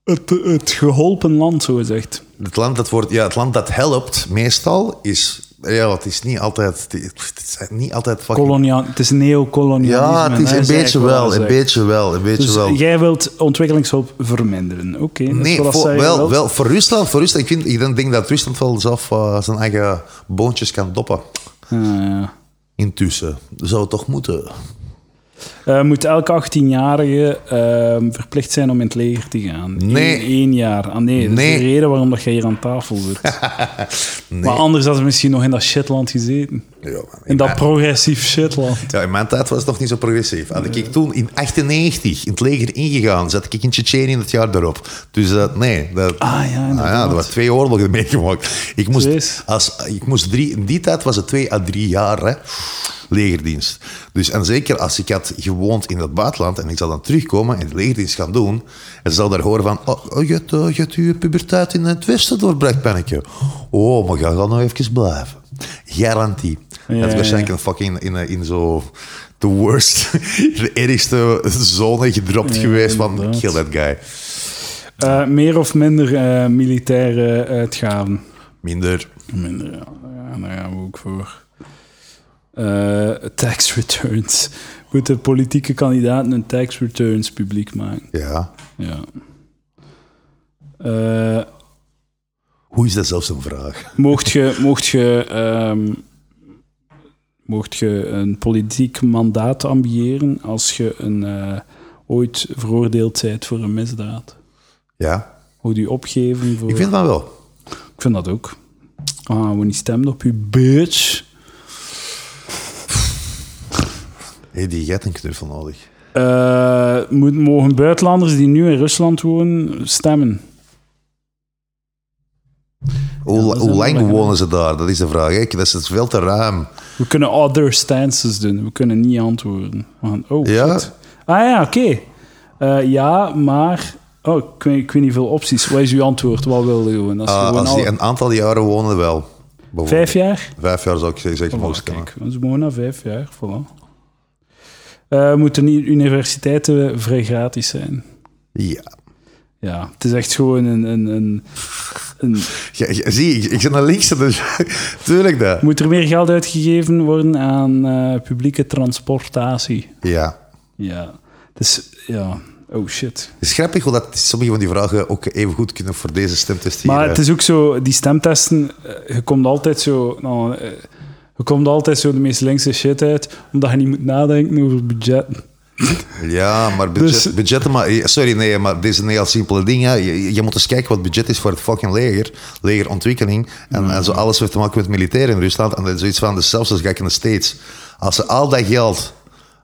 B: het, het geholpen land, zo gezegd.
A: het, land dat wordt, ja, het land dat helpt meestal is... Ja, het is niet altijd... Het is niet altijd fucking-
B: Kolonia het is neocolonialisme.
A: Ja, het is
B: hè,
A: een
B: zei
A: beetje
B: ik al,
A: wel,
B: zei
A: een
B: ik.
A: beetje wel, een beetje
B: Dus
A: wel.
B: jij wilt ontwikkelingshulp verminderen. Oké, dat is
A: Nee,
B: wat
A: voor,
B: zij
A: wel,
B: wilt.
A: wel, voor Rusland, voor Rusland. Ik, vind, ik dan denk dat Rusland wel zelf eh, zijn eigen boontjes kan doppen.
B: Ja, Ah, ja.
A: Intussen. Dat zou het toch moeten?
B: Eh, moet elke 18-jarige ehm, verplicht zijn om in het leger te gaan?
A: Nee.
B: Eén, één jaar. Ah nee, dat
A: Nee.
B: is de reden waarom dat jij hier aan tafel zit. Maar anders hadden we misschien nog in dat shitland gezeten.
A: Ja, man.
B: In
A: In
B: dat
A: mijn-
B: progressief shitland.
A: ja, in mijn tijd was het nog niet zo progressief. Had ik toen in 98 in het leger ingegaan, zat ik in Tsjetsjenië het jaar daarop. Dus dat nee, dat,
B: Ah ja,
A: Ah ja,
B: inderdaad.
A: er waren twee oorlogen meegemaakt. Ik
B: Jeez.
A: moest, als, ik moest drie, in die tijd was het twee à drie jaar hè, legerdienst. Dus, en zeker als ik had gewoond in het buitenland en ik zou dan terugkomen en de legerdienst gaan doen, en ze zou daar horen van, oh, oh, je hebt, eh, je hebt je puberteit in het westen doorbracht, pannetje. Oh, maar ga dan nog even blijven. Garantie.
B: Ja,
A: dat
B: ja,
A: is waarschijnlijk
B: ja.
A: een fucking in, eh, in zo... De worst, de ergste zone gedropt geweest van
B: inderdaad.
A: kill that guy.
B: Eh, meer of minder eh, militaire eh, uitgaven?
A: Minder.
B: Minder, ja. ja daar gaan we ook voor. Eh, tax returns. Moeten politieke kandidaten hun tax returns publiek maken?
A: Ja.
B: Ja. Eh
A: Hoe is dat zelfs een vraag?
B: mocht je, mocht je, ehm, mocht je een politiek mandaat ambiëren als je een, eh, ooit veroordeeld bent voor een misdaad?
A: Ja,
B: Moet je opgeven voor...
A: ik vind van wel.
B: Ik vind dat ook. Ah, we niet stemmen op je bitch.
A: Hey, die gaat een knuffel nodig.
B: Eh, moet, mogen buitenlanders die nu in Rusland wonen stemmen?
A: Hoe,
B: dat is
A: hoe
B: een
A: lang
B: moeilijke.
A: wonen ze daar? Dat is de vraag. Hè? Dat is het veel te ruim.
B: We kunnen other stances doen. We kunnen niet antwoorden. We gaan- oh,
A: Ja?
B: shit. Ah ja, oké. Eh, ja, maar... Oh, ik weet, ik weet niet veel opties. Wat is uw antwoord? Wat wil je gewoon? Dat is
A: Ah,
B: gewoon
A: als die
B: alle-
A: een aantal jaren wonen, wel. Bijvoorbeeld.
B: Vijf jaar?
A: Vijf jaar zou ik ze- zeker mogen
B: Voilà,
A: stemmen.
B: kijk, ze mogen na vijf jaar. Voilà. Eh, moeten die universiteiten vrij gratis zijn?
A: Ja.
B: Ja, het is echt gewoon een... een, een, een
A: Ja, ja, zie, ik, ik zit naar links. Dus, tuurlijk dat.
B: Moet er meer geld uitgegeven worden aan eh, publieke transportatie?
A: Ja.
B: Ja. Dus ja, oh shit.
A: Het is grappig hoe dat sommige van die vragen ook even goed kunnen voor deze stemtest hier.
B: Maar
A: hè.
B: het is ook zo, die stemtesten, eh, je komt altijd zo, nou, eh, je komt altijd zo de meest linkse shit uit, omdat je niet moet nadenken over budget.
A: Ja, maar budget,
B: Dus-
A: budgetten... Maar, eh, sorry, nee, maar dit is een heel simpele ding. Hè. Je, je moet eens kijken wat budget is voor het fucking leger. Legerontwikkeling.
B: Mm.
A: En, en zo alles wat te maken met militair in Rusland. En dat is zoiets van, dus zelfs als ga ik in de States. Als ze al dat geld...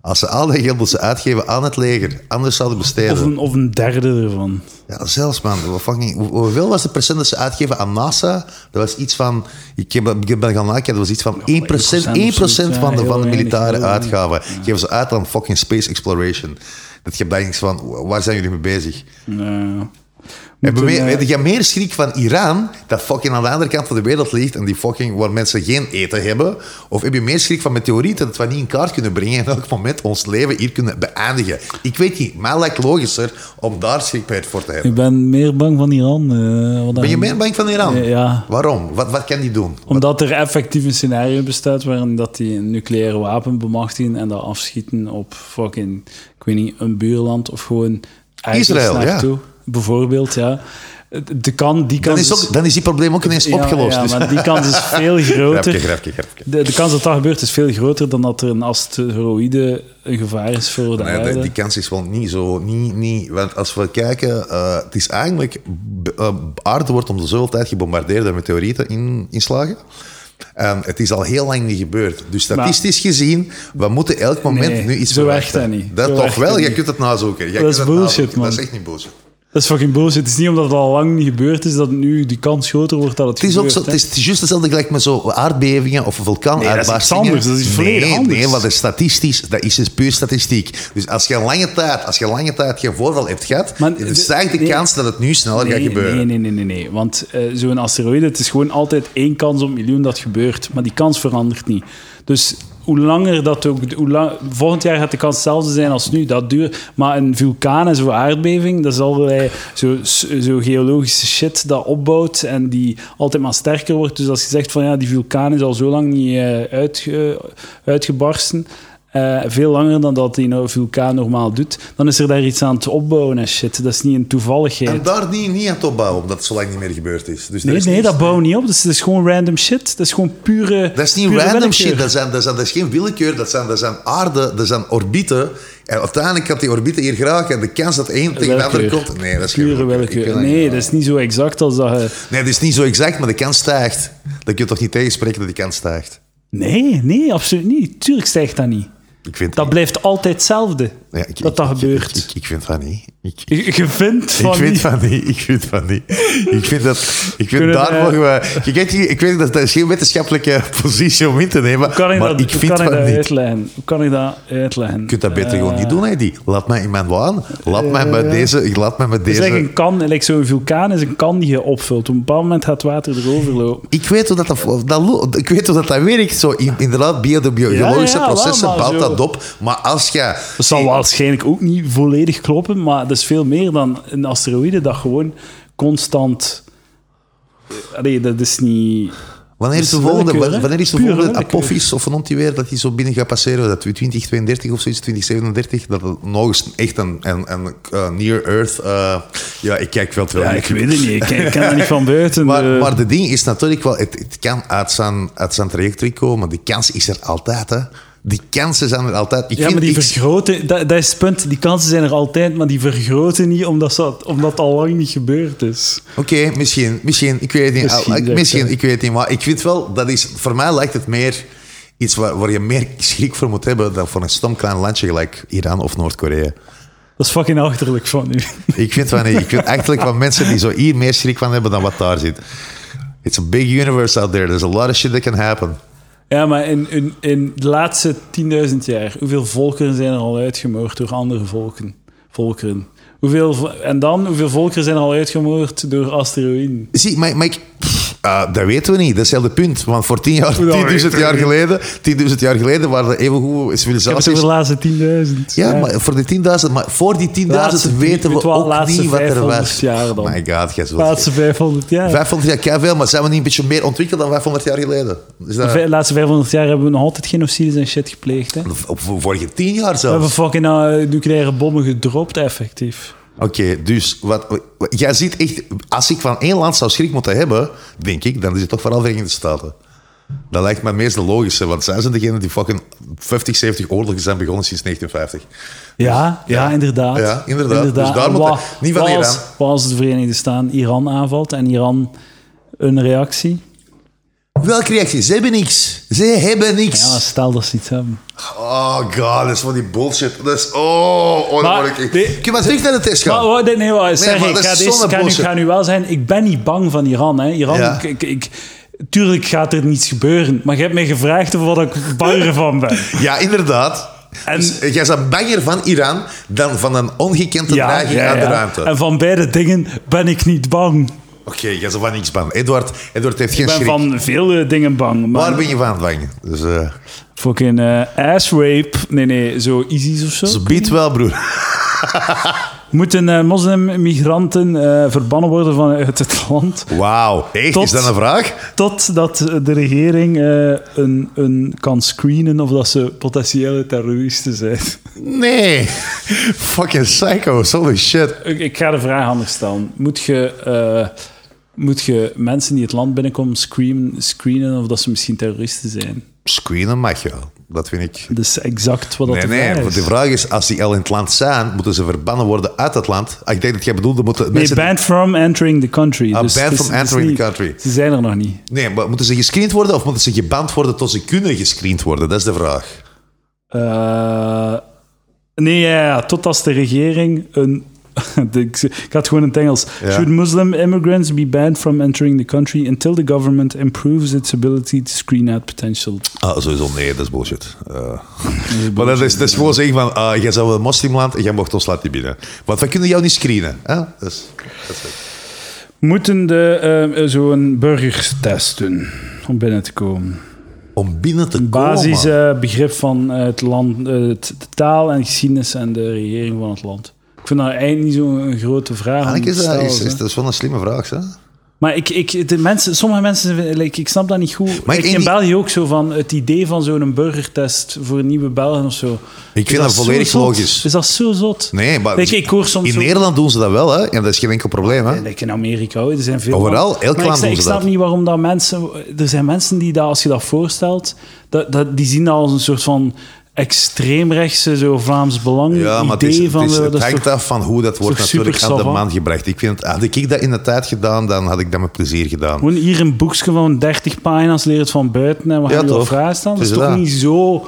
A: Als ze al dat geld dat ze uitgeven aan het leger, anders zouden besteden.
B: Of een, of een derde ervan.
A: Ja, zelfs man. Wat Fucking, hoe- hoeveel was de procent dat ze uitgeven aan NASA? Dat was iets van, ik, heb, ik ben gaan nakijken, dat was iets van 1%,
B: 1% of
A: 1
B: zoiets, ja,
A: van, de,
B: heel
A: van de
B: weinig,
A: militaire
B: heel weinig.
A: uitgaven. Geven ze uit aan fucking space exploration. Dat je denkt van, wa- waar zijn jullie mee bezig?
B: Nee.
A: Hebben we,
B: eh,
A: weet je meer schrik van Iran, dat fucking aan de andere kant van de wereld ligt en die fucking, waar mensen geen eten hebben? Of heb je meer schrik van meteorieten dat we niet in kaart kunnen brengen en elk moment ons leven hier kunnen beëindigen? Ik weet niet, maar het lijkt logischer om daar schrik bij voor te hebben.
B: Ik ben meer bang van Iran. eh, wat
A: Ben je
B: dan-
A: meer bang van Iran?
B: Eh, ja.
A: Waarom? Wat, wat kan die doen?
B: Omdat er effectief een scenario bestaat waarin dat die een nucleaire wapen bemachtigen en dat afschieten op fucking, ik weet niet, een buurland of gewoon ergens
A: Israël, ja.
B: naartoe. Bijvoorbeeld, ja. De kan, dus- die
A: Dan
B: kans
A: is, ook, dan is die probleem ook ineens
B: ja,
A: opgelost.
B: Ja,
A: dus-
B: maar die kans is veel
A: Grapje,
B: groter.
A: grapje, grapje.
B: De, de kans dat dat gebeurt is veel groter dan dat er een asteroïde een gevaar is voor de
A: Nee,
B: aarde.
A: die, die kans is wel niet zo. Niet, niet, want als we kijken, eh, het is eigenlijk. b- eh, aarde wordt om de zoveel tijd gebombardeerd door meteorieten in, inslagen. En het is al heel lang niet gebeurd. Dus statistisch gezien, we moeten elk moment
B: Nee,
A: nu iets
B: zo werkt
A: verwachten.
B: dat niet.
A: Dat
B: Zo
A: toch
B: werkt
A: wel,
B: dat
A: je
B: niet.
A: kunt het nazoeken. Jij
B: Dat
A: kunt
B: is
A: het
B: bullshit,
A: nazoeken. Dat is
B: man.
A: echt niet bullshit.
B: Dat is fucking bullshit. Het is niet omdat het al lang niet gebeurd is dat nu die kans groter wordt dat het,
A: Het is ook
B: gebeurt.
A: zo, het
B: hè.
A: is juist hetzelfde gelijk met zo aardbevingen of vulkaanuitbarstingen.
B: Nee, dat is iets anders, dat is iets volledig
A: nee,
B: anders.
A: Nee, want dat is statistisch, dat is dus puur statistiek. Dus als je een lange tijd, als je een lange tijd geen voorval hebt gehad,
B: Maar
A: dan
B: de-
A: stijgt de
B: nee.
A: kans dat het nu sneller gaat gebeuren.
B: Nee, nee, nee, nee, nee. Want eh, zo'n asteroïde, het is gewoon altijd één kans op miljoen dat gebeurt. Maar die kans verandert niet. Dus hoe langer dat ook... Hoe lang, volgend jaar gaat de kans hetzelfde zijn als nu. Dat duurt. Maar een vulkaan en zo'n aardbeving, dat is allerlei zo, zo geologische shit dat opbouwt en die altijd maar sterker wordt. Dus als je zegt van ja, die vulkaan is al zo lang niet eh, uitge- uitgebarsten... eh, veel langer dan dat die nou vulkaan normaal doet, dan is er daar iets aan te opbouwen en shit. Dat is niet een toevalligheid.
A: En daar niet, niet aan het opbouwen, omdat het zo lang niet meer gebeurd is. Dus er
B: Nee,
A: is
B: nee,
A: niks-
B: dat bouwen we niet op. Dat is, dat is gewoon random shit. Dat is gewoon pure.
A: Dat is niet
B: pure
A: random
B: willekeur.
A: shit, dat, zijn, dat, zijn, dat is geen willekeur, dat zijn, dat zijn aarde, dat zijn orbieten. En uiteindelijk gaat die orbiten hier geraken en de kans dat één tegen de andere
B: Willekeur.
A: komt... Nee, dat is geen
B: Pure
A: willekeur. Ik kan
B: willekeur.
A: dat niet
B: Nee, dat is niet zo exact als dat je.
A: Nee, het is niet zo exact, maar de kans stijgt. Dat kun je toch niet tegenspreken dat die kans stijgt?
B: Nee, nee, absoluut niet. Tuurlijk stijgt dat niet.
A: Ik vind
B: Dat blijft altijd hetzelfde.
A: Ja, ik-
B: dat dat
A: ik- ik-
B: gebeurt.
A: Ik, ik, ik vind van niet. Ik, ik,
B: Je- Je vindt van.
A: vind
B: niet-
A: van niet. Ik vind van niet. Ik vind dat. Ik vind
B: Kunnen
A: daar
B: we-
A: mogen we. Je kent, hier- ik weet dat dat is geen wetenschappelijke positie om in te nemen.
B: Hoe kan ik
A: maar
B: dat,
A: ik
B: hoe
A: vind
B: kan ik
A: van
B: dat
A: niet.
B: uitleggen? Hoe kan ik dat uitleggen?
A: Je kunt dat beter gewoon niet doen, hè, die. Laat mij in mijn waan. Laat mij met
B: Eh,
A: deze. Ik laat mij met
B: Het
A: deze.
B: is eigenlijk Eh, een kan, like zo'n vulkaan is een kan die je opvult. Op een bepaald moment gaat water erover lopen.
A: Ik weet hoe dat, dat, dat lo- ik weet hoe dat, dat werkt. Zo, in- inderdaad, bio- de biologische
B: Ja, ja, wel,
A: processen
B: maar
A: bouwt
B: zo-
A: dat op. Maar als je...
B: Dat zal waarschijnlijk ook niet volledig kloppen, maar dat is veel meer dan een asteroïde dat gewoon constant. Nee, dat is niet.
A: Wanneer is de
B: Dus
A: volgende,
B: willekeur, hè?
A: wanneer is de
B: Pure
A: volgende
B: willekeur.
A: apophis of een antiweer dat die zo binnen gaat passeren? Dat we 2032 of zoiets, 2037, dat het nog eens echt een, een, een eh, Near Earth. eh, ja, ik kijk wel te veel.
B: Ja, ik weet het niet. Ik, ik ken dat niet van buiten.
A: Maar,
B: eh.
A: maar de ding is natuurlijk wel, het, het kan uit zijn, uit zijn trajectorie komen. De kans is er altijd, hè? Die kansen zijn er altijd. Ik
B: ja,
A: vind,
B: maar die
A: ik-
B: vergroten, dat, dat is het punt. Die kansen zijn er altijd, maar die vergroten niet omdat, ze, omdat het al lang niet gebeurd is.
A: Oké, misschien, misschien, ik weet het niet.
B: Misschien,
A: Ah, ik-
B: ja,
A: misschien,
B: ja.
A: ik weet het niet. Maar ik vind wel, dat is, voor mij lijkt het meer iets waar, waar je meer schrik voor moet hebben dan voor een stom klein landje gelijk Iran of Noord-Korea.
B: Dat is fucking achterlijk van u.
A: Ik vind van niet. Ik vind eigenlijk van mensen die zo hier meer schrik van hebben dan wat daar zit. It's a big universe out there. There's a lot of shit that can happen.
B: Ja, maar in, in, in de laatste 10.000 jaar, hoeveel volkeren zijn er al uitgemoord door andere volken? volkeren? Hoeveel, v- en dan, hoeveel volkeren zijn er al uitgemoord door asteroïden?
A: Zie, maar, maar ik- pff, ah, dat weten we niet. Dat is heel de punt. Want voor 10 jaar,
B: dat
A: 10.000
B: weten
A: jaar geleden, 10.000 jaar geleden waren er evengoed
B: Ik heb het
A: civilisaties.
B: over de laatste 10.000.
A: Ja, maar voor die 10.000, maar voor die 10.000
B: Laatste
A: weten we
B: drie- twaalf-
A: ook
B: laatste
A: niet wat er
B: 500
A: was.
B: jaar dan.
A: My god, jij zult-
B: laatste 500 jaar.
A: 500 jaar, keiveel, maar zijn we niet een beetje meer ontwikkeld dan 500 jaar geleden? Is dat,
B: De laatste 500 jaar hebben we nog altijd genocides en shit gepleegd. Hè? We
A: op vorige 10 jaar zelfs.
B: hebben fucking eh, nucleaire bommen gedropt, effectief.
A: Oké, dus wat, wat- jij ziet echt, als ik van één land zou schrik moeten hebben, denk ik, dan is het toch vooral Verenigde Staten. Dat lijkt me het meest logische, want zij zijn degene die fucking 50, 70 oorlogen zijn begonnen sinds 1950.
B: Ja, ja, inderdaad.
A: Ja, inderdaad. Dus daar
B: En
A: moet
B: wa-
A: hij- niet van
B: wa-
A: Iran.
B: Als, wa- als de Verenigde Staten Iran aanvalt en Iran een reactie.
A: Welke reactie? Ze hebben niks. Ze hebben niks.
B: Ja, stel dat ze iets hebben.
A: Oh god, dat is van die bullshit. Dat is... Oh, oh
B: Maar
A: maar, ik...
B: die-
A: Kun je maar terug naar de test
B: Maar,
A: gaan?
B: oh, nee, nee, maar, zeg,
A: maar
B: ik
A: dat
B: ga,
A: is
B: deze,
A: zonne
B: ik ga, nu,
A: bullshit.
B: ga nu wel zijn, ik ben niet bang van Iran. Hè. Iran
A: Ja.
B: ik, ik, ik- tuurlijk gaat er niets gebeuren, maar je hebt mij gevraagd of wat ik bang van ben.
A: Ja, inderdaad.
B: En-
A: Dus jij bent banger van Iran dan van een ongekende
B: Ja,
A: dreiging
B: ja,
A: uit de
B: ja.
A: ruimte.
B: En van beide dingen ben ik niet bang.
A: Oké, jij bent van niks bang. Edward, Edward heeft geen
B: Ik ben
A: schrik.
B: van veel eh, dingen bang. Maar
A: Waar ben je van bang? Dus, eh,
B: Fucking eh, ass rape. Nee, nee, zo ISIS of zo.
A: ze biedt wel, broer.
B: Moeten eh, moslimmigranten eh, verbannen worden vanuit het land?
A: Wauw. Echt?
B: Tot-
A: Is dat een vraag?
B: Totdat de regering eh, een, een kan screenen of dat ze potentiële terroristen zijn.
A: Nee. Fucking psycho's. Holy shit.
B: Ik, ik ga de vraag anders stellen. Moet je, eh, moet je mensen die het land binnenkomen screenen, screenen of dat ze misschien terroristen zijn?
A: Screenen mag je wel. Dat vind ik...
B: Dat is exact wat dat
A: Nee,
B: de
A: nee,
B: vraag
A: want
B: is.
A: de vraag is, als die al in het land zijn, moeten ze verbannen worden uit het land. Ah, Ik denk dat jij bedoelde, moeten
B: Nee,
A: mensen...
B: banned from entering the country.
A: Ah,
B: dus
A: banned
B: het is-
A: from
B: het is
A: entering
B: niet-
A: the country.
B: Ze zijn er nog niet.
A: Nee, maar moeten ze gescreend worden of moeten ze geband worden tot ze kunnen gescreend worden? Dat is de vraag.
B: Eh, nee, ja, ja, tot als de regering een. ik ik had gewoon in het Engels.
A: Ja.
B: Should Muslim immigrants be banned from entering the country until the government improves its ability to screen out potential?
A: Ah, sowieso nee, dat is bullshit. Eh, maar dat is, dat is gewoon zeggen van, ah, jij bent wel een moslimland en jij mocht ons land niet binnen. Want wij kunnen jou niet screenen. Hè? Dus, dat is het.
B: Moeten de eh, zo'n burgertest doen om binnen te komen?
A: om binnen te
B: Basis
A: komen...
B: eh, begrip van eh, het land, eh, het- de taal en geschiedenis en de regering van het land. Ik vind dat eigenlijk niet zo'n grote vraag. om
A: Eigenlijk
B: te
A: is dat,
B: stellen,
A: is,
B: hè.
A: is- dat is wel een slimme vraag, hè?
B: Maar ik, ik, de mensen, sommige mensen, zijn- like, ik snap dat niet goed.
A: Maar
B: ik
A: in
B: in
A: die-
B: België ook zo van het idee van zo'n burgertest voor nieuwe Belgen of zo.
A: Ik vind dat volledig logisch.
B: Is dat zo zot?
A: Nee, maar
B: Like, ik hoor soms
A: in
B: zo-
A: Nederland doen ze dat wel, hè? En dat is geen enkel probleem, hè?
B: Like in Amerika, hoor, er zijn veel...
A: Overal,
B: landen-
A: elk
B: Maar
A: land
B: ik, snap-
A: doen
B: ik
A: ze
B: snap
A: dat.
B: niet waarom dat mensen... Er zijn mensen die dat, als je dat voorstelt, dat, dat, die zien dat als een soort van extreemrechtse, zo Vlaams Belang
A: Ja, maar het,
B: idee
A: is, het,
B: van...
A: is-
B: eh,
A: het
B: dat is
A: hangt
B: toch-
A: af van hoe dat wordt
B: toch
A: natuurlijk
B: super
A: aan de
B: savant?
A: man gebracht. Ik vind, het- had ik dat in de tijd gedaan, dan had ik dat met plezier gedaan.
B: Gewoon hier een boekje van 30 pagina's, leer het van buiten en we
A: Ja,
B: gaan je
A: toch.
B: op vraag staan. Dat
A: Het
B: is
A: is
B: toch
A: dat.
B: niet zo...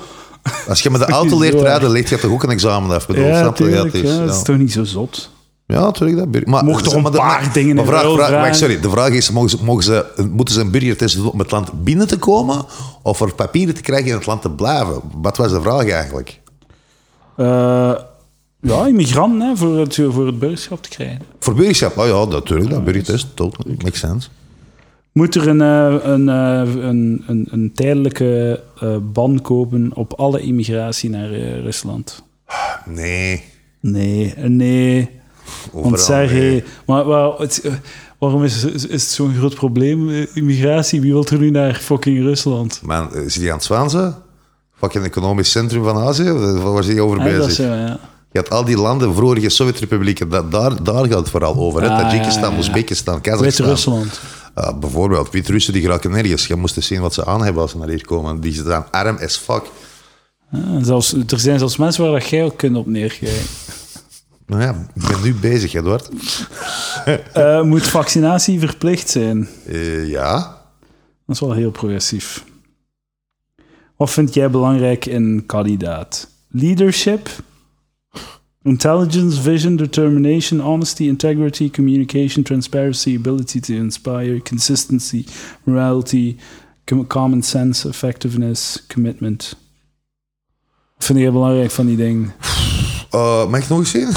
A: Als je met de auto leert
B: Zo erg.
A: rijden, leert je toch ook een examen af? Ik Bedoel,
B: Ja,
A: snap je?
B: tuurlijk,
A: het is,
B: ja, dat is
A: ja.
B: toch niet zo zot?
A: Ja, natuurlijk. Dat bur- maar,
B: Mocht er een
A: maar de-
B: paar
A: maar-
B: dingen
A: maar
B: in
A: vraag,
B: ruil
A: vraag, maar
B: vragen.
A: Sorry, de vraag is, mogen ze, mogen ze, moeten ze een burgertest doen om het land binnen te komen of voor papieren te krijgen in het land te blijven? Wat was de vraag eigenlijk?
B: Eh, ja, immigranten, hè, voor, het, voor het burgerschap te krijgen.
A: Voor burgerschap? Oh ja, natuurlijk. Dat burgertest, tot, makes sense.
B: Moet er een, eh, een, eh, een, een, een tijdelijke eh, ban kopen op alle immigratie naar eh, Rusland?
A: Nee.
B: Nee, eh, nee. Want
A: overal
B: Sergej...
A: nee.
B: Maar, maar het- eh, waarom is, is het zo'n groot probleem, eh, immigratie? Wie wil er nu naar fucking Rusland?
A: Man, eh, zit hij aan het zwanzen? Fucking economisch centrum van Azië? Eh, Waar zit hij over
B: Ah,
A: bezig?
B: dat is, eh, ja.
A: Je had al die landen, vroegere Sovjet-republieken, da- daar, daar gaat het vooral over. hè.
B: Ah,
A: Tajikistan,
B: ja, ja, ja.
A: Oezbekistan, Kazachstan.
B: Wit-Rusland.
A: Ah, bijvoorbeeld, Wit-Russen die geraken nergens. Je moest eens zien wat ze aan hebben als ze naar hier komen. Die zijn arm as fuck.
B: Ja, zelfs, er zijn zelfs mensen waar dat jij ook kunt op neerkijken.
A: Nou ja, ik ben nu bezig, Edward.
B: Eh, moet vaccinatie verplicht zijn?
A: Eh, ja.
B: Dat is wel heel progressief. Wat vind jij belangrijk in een kandidaat? Leadership, intelligence, vision, determination, honesty, integrity, communication, transparency, ability to inspire, consistency, morality, com- common sense, effectiveness, commitment. Wat vind jij belangrijk van die dingen?
A: Eh, mag ik nog eens zien?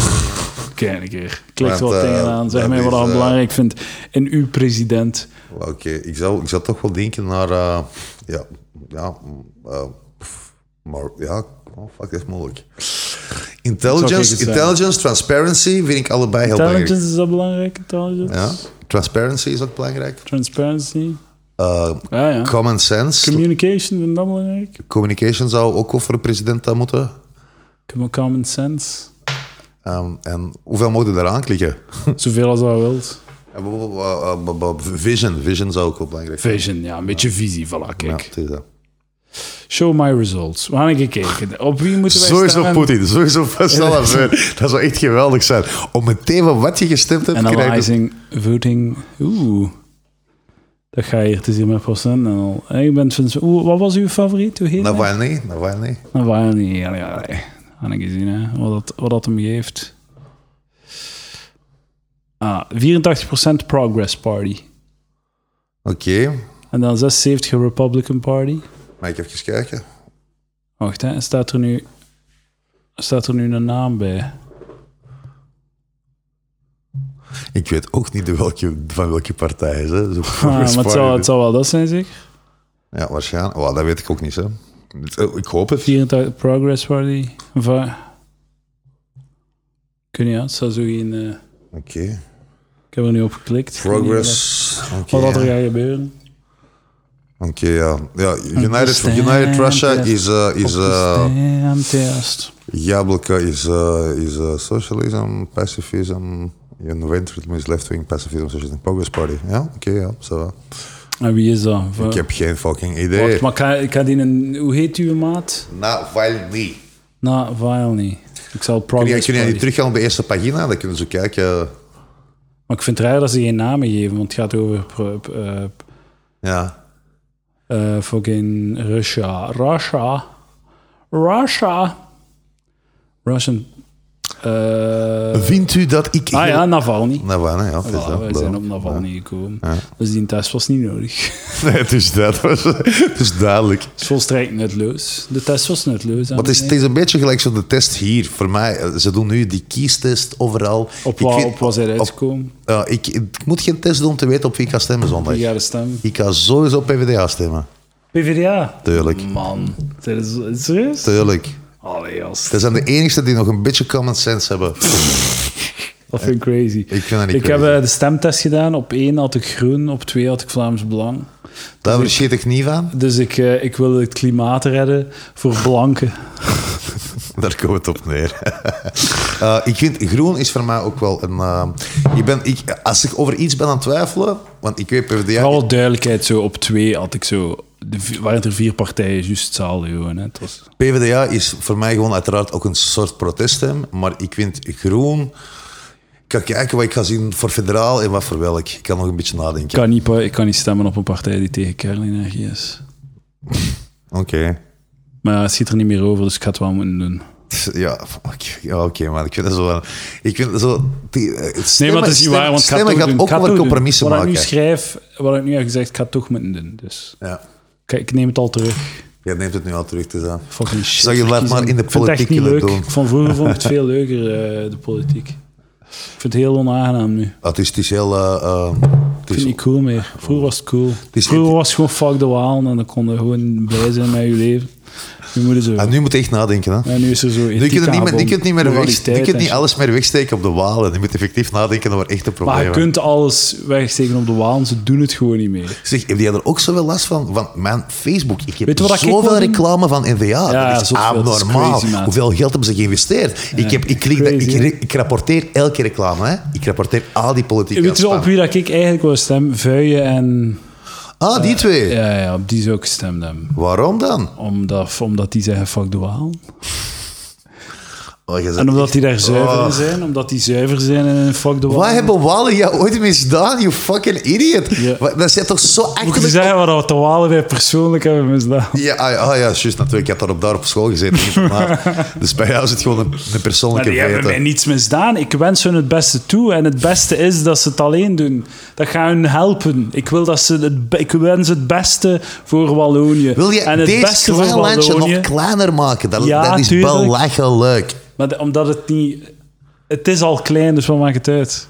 B: Kijk een keer. Klik er
A: Want,
B: wat
A: eh,
B: dingen aan. Zeg
A: dat
B: mij wat
A: is,
B: je
A: eh,
B: belangrijk vindt in uw president.
A: Oké, ik, zou, ik zou toch wel denken naar... eh, ja, ja, mm, eh, pff, maar ja, oh, fuck, dat is moeilijk.
B: Zou ik eh,
A: Intelligence,
B: het zeggen?
A: intelligence transparency vind ik allebei heel belangrijk.
B: Intelligence is dat belangrijk? Intelligence?
A: Ja, transparency is ook belangrijk.
B: Transparency. Ah,
A: Eh,
B: Ja, ja.
A: common sense.
B: Communication, vind je dat belangrijk?
A: Communication zou ook wel voor de president dat moeten.
B: Com- Common sense.
A: Ehm, en hoeveel mogen daar aanklikken?
B: Zoveel als dat wilt.
A: En bijvoorbeeld, eh, eh, b- b- Vision. Vision zou ook wel belangrijk zijn.
B: Vision, ja, een beetje visie, voilà,
A: Ja,
B: kijk.
A: het is eh, dat.
B: Show my results. We gaan gekeken. Op wie moeten wij
A: Sowieso
B: stemmen?
A: Poetin, sowieso Pascal Affaire. Dat zou echt geweldig zijn. Om meteen van wat je gestemd hebt, krijg je...
B: Analyzing, voting. Oeh. Dat ga je hier te zien met procent en al. En ik ben van... Oeh, wat was uw favoriet? Hoe heet dat?
A: Navalny, Navalny.
B: Dat waren niet. Ja, ja, ja. Had ik gezien, hè. Wat dat, wat dat hem geeft. Ah, 84% Progress Party.
A: Oké,
B: En dan 76 Republican Party.
A: mag ik even kijken?
B: Wacht, hè. Staat er nu... Staat er nu een naam bij? Ah,
A: Ik weet ook niet de welke, van welke partij is. Hè. Zo
B: Ah, maar het zal, het zal wel dat zijn, zeker?
A: Ja, waarschijnlijk. Wow, dat weet ik ook niet. Hè. Eh, Ik hoop het.
B: 84 Progress Party. eh, Va Kun je, het zou zo geen... eh,
A: Oké.
B: ik heb er nu op geklikt.
A: Progress. Oké,
B: Wat dat er
A: ja.
B: gaat gebeuren.
A: Oké, ja. ja United,
B: Understand,
A: United Russia
B: yes.
A: is... eh, is eh,
B: Damn test.
A: Jablka is, eh, is eh, socialism, pacifism. Inventory is left-wing, pacifism, socialism, progress party. Ja, oké, ja. ça va.
B: En wie is dat? Va-
A: Ik heb geen fucking idee.
B: Wacht, maar ik ga, ik ga die een... Hoe heet uw maat?
A: Navalny.
B: Na Vilny. Ik zal
A: Ja,
B: Progress
A: kun je
B: Party-
A: niet teruggaan op de eerste pagina? Dan kunnen ze kijken.
B: Maar ik vind het raar dat ze geen namen geven, want het gaat over... pro- eh,
A: Ja.
B: eh fucking Russia. Russia. Russia. Russian. eh
A: Vindt u dat ik...
B: ah ja, Navalny.
A: Navalny, ja, het is
B: Ja,
A: dat.
B: wij
A: Bla.
B: zijn op Navalny gekomen. Dus die test was niet nodig.
A: Nee, het is dat. Het is duidelijk.
B: Het is volstrekt nutloos. De test was nutloos.
A: Het is, het is een beetje gelijk zo'n de test hier. Voor mij, eh, ze doen nu die kiestest overal.
B: op, wat,
A: vind-
B: op wat zij
A: op-
B: uitgekomen.
A: eh, ik, ik moet geen test doen om te weten op wie ik ga stemmen zondag.
B: Die gaan stemmen.
A: Ik ga sowieso op PvdA stemmen.
B: PvdA.
A: Tuurlijk.
B: Man. Zijn ze- Serieus?
A: Tuurlijk.
B: Allee, jas.
A: Dat zijn de enigsten die nog een beetje common sense hebben.
B: Dat vind ik crazy.
A: Ik vind dat niet
B: Ik heb
A: crazy.
B: eh, de stemtest gedaan. Op één had ik groen, op twee had ik Vlaams Belang.
A: Daar verschiet ik niet van.
B: Dus ik, eh, ik wil het klimaat redden voor blanken.
A: Daar komt het op neer. Eh, ik vind groen is voor mij ook wel een. eh, ik ben, ik, als ik over iets ben aan het twijfelen, want ik weet PvdA.
B: Alle duidelijkheid, zo op twee had ik zo... De, vi- waren het er vier partijen, juist hetzelfde gewoon. Hè. Het was,
A: PvdA is voor mij gewoon uiteraard ook een soort proteststem, maar ik vind groen. Ik ga kijken wat ik ga zien voor federaal en wat voor welk. Ik kan nog een beetje
B: ik,
A: nadenken.
B: kan niet, pa- ik kan niet stemmen op een partij die tegen kernenergie is.
A: Oké.
B: Maar het schiet er niet meer over, dus ik ga het wel moeten doen.
A: Ja, fuck. ja oké, maar ik vind dat zo. wel- Ik vind dat zo. Die, eh,
B: Nee,
A: stemmen-
B: maar het is niet
A: stemmen-
B: waar, want ik ga het
A: stemmen
B: toch
A: gaat
B: doen. Ik ga
A: ook
B: het
A: wel
B: toch doen.
A: compromissen
B: wat
A: maken.
B: ik nu schrijf, wat ik nu heb gezegd, ik ga het toch moeten doen. Dus
A: Ja,
B: kijk, ik neem het al terug.
A: jij neemt het eh, nu al terug te zijn.
B: Fucking shit.
A: Zou je laat
B: verkiezingen.
A: maar in de
B: Ik vind het
A: politiek
B: echt niet
A: willen
B: leuk.
A: doen.
B: Ik vond vroeger vond ik het veel leuker, eh, de politiek. Ik vind het heel onaangenaam nu.
A: Het is, het is heel. eh, eh, het
B: Ik
A: is-
B: vind het niet cool meer. Vroeger was het cool.
A: is-
B: Vroeger was het gewoon fuck de waal en dan kon je gewoon blij zijn met je leven. Nu moet je zo.
A: en nu moet je echt nadenken. Hè.
B: En nu is er zo
A: Nu kun je niet, meer-
B: meer,
A: Ah, die kunt niet, meer weg, die kunt niet alles meer wegsteken op de walen. Je moet effectief nadenken over echte
B: Maar
A: problemen.
B: je kunt alles wegsteken op de waal, en ze doen het gewoon niet meer.
A: Zeg, heb jij er ook zoveel last van? Van mijn Facebook. Ik heb
B: Weet je wat ik wil
A: zoveel
B: doen?
A: reclame van NVA.
B: Ja,
A: dat is
B: zoveel. Dat is
A: abnormaal.
B: crazy, man.
A: Hoeveel geld hebben ze geïnvesteerd? ik, heb, ik, klik dat-
B: crazy,
A: ik,
B: hè?
A: ik rapporteer elke reclame. Hè? Ik rapporteer al die politieke
B: Weet je wel
A: spam.
B: op wie dat ik eigenlijk wil stemmen? Vuijen en...
A: Ah, die twee.
B: Ja, ja, op die zou ik gestemd hebben.
A: Waarom dan?
B: Omdat, omdat die zeggen fuck de waal.
A: Oh, je zegt
B: En omdat die daar
A: echt-
B: zuiver in
A: Oh.
B: zijn. Omdat die zuiver zijn en fuck de waal.
A: Wat hebben Walen jou ooit misdaan, you fucking idiot?
B: Ja.
A: Wat- Dat is toch zo
B: Moet je
A: achterlijk
B: zeggen wat de walen wij persoonlijk hebben misdaan?
A: Ja, ah, ja, ah, ja, juist natuurlijk. Ik heb daar op, daar op school gezeten. in het internaat. dus bij jou zit gewoon een, een
B: Maar
A: persoonlijke
B: die hebben mij
A: vete.
B: niets misdaan. Ik wens hun het beste toe. En het beste is dat ze het alleen doen. Dat gaat hun helpen. Ik, wil dat ze het, be- ik wens het beste voor Wallonië.
A: Wil je
B: en het
A: deze
B: beste voor
A: klein landje
B: Wallonië.
A: nog kleiner maken? Dat,
B: Ja,
A: dat is
B: tuurlijk.
A: belachelijk.
B: Maar de- omdat het niet. Het is al klein, dus wat maakt het uit?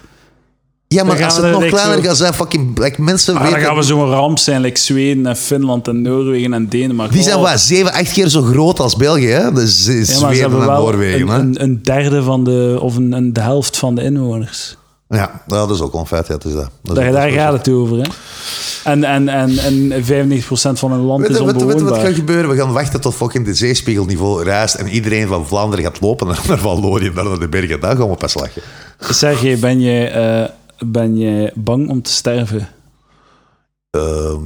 A: Ja, maar
B: Dan
A: als
B: gaan
A: het
B: we
A: nog
B: er like
A: kleiner
B: zo-
A: gaat zijn, fucking like, mensen
B: Maar Ah, dan
A: weten...
B: gaan we zo'n ramp zijn, like Zweden en Finland en Noorwegen en Denemarken.
A: Die zijn
B: Oh.
A: wat, zeven, acht keer zo groot als België, hè? Dus ze-
B: Ja, maar ze
A: Zweden
B: hebben
A: en
B: wel
A: Noorwegen, hè?
B: een, een, een derde van de, of een, een- de helft van de inwoners.
A: Ja, nou, dat is ook wel een feit, ja, het is dat. dat. is
B: Daar,
A: ook-
B: daar gaat het over, hè? En, en, en, en 95% van hun land
A: Weet
B: is
A: je weet je- weet je wat
B: onbewoonbaar.
A: gaat gebeuren? We gaan wachten tot fucking de zeespiegelniveau rijst en iedereen van Vlaanderen gaat lopen naar, naar Wallonië, en dan naar de bergen. Daar gaan we pas lachen.
B: Sergej, ben je eh, Ben jij bang om te sterven?
A: Ehm,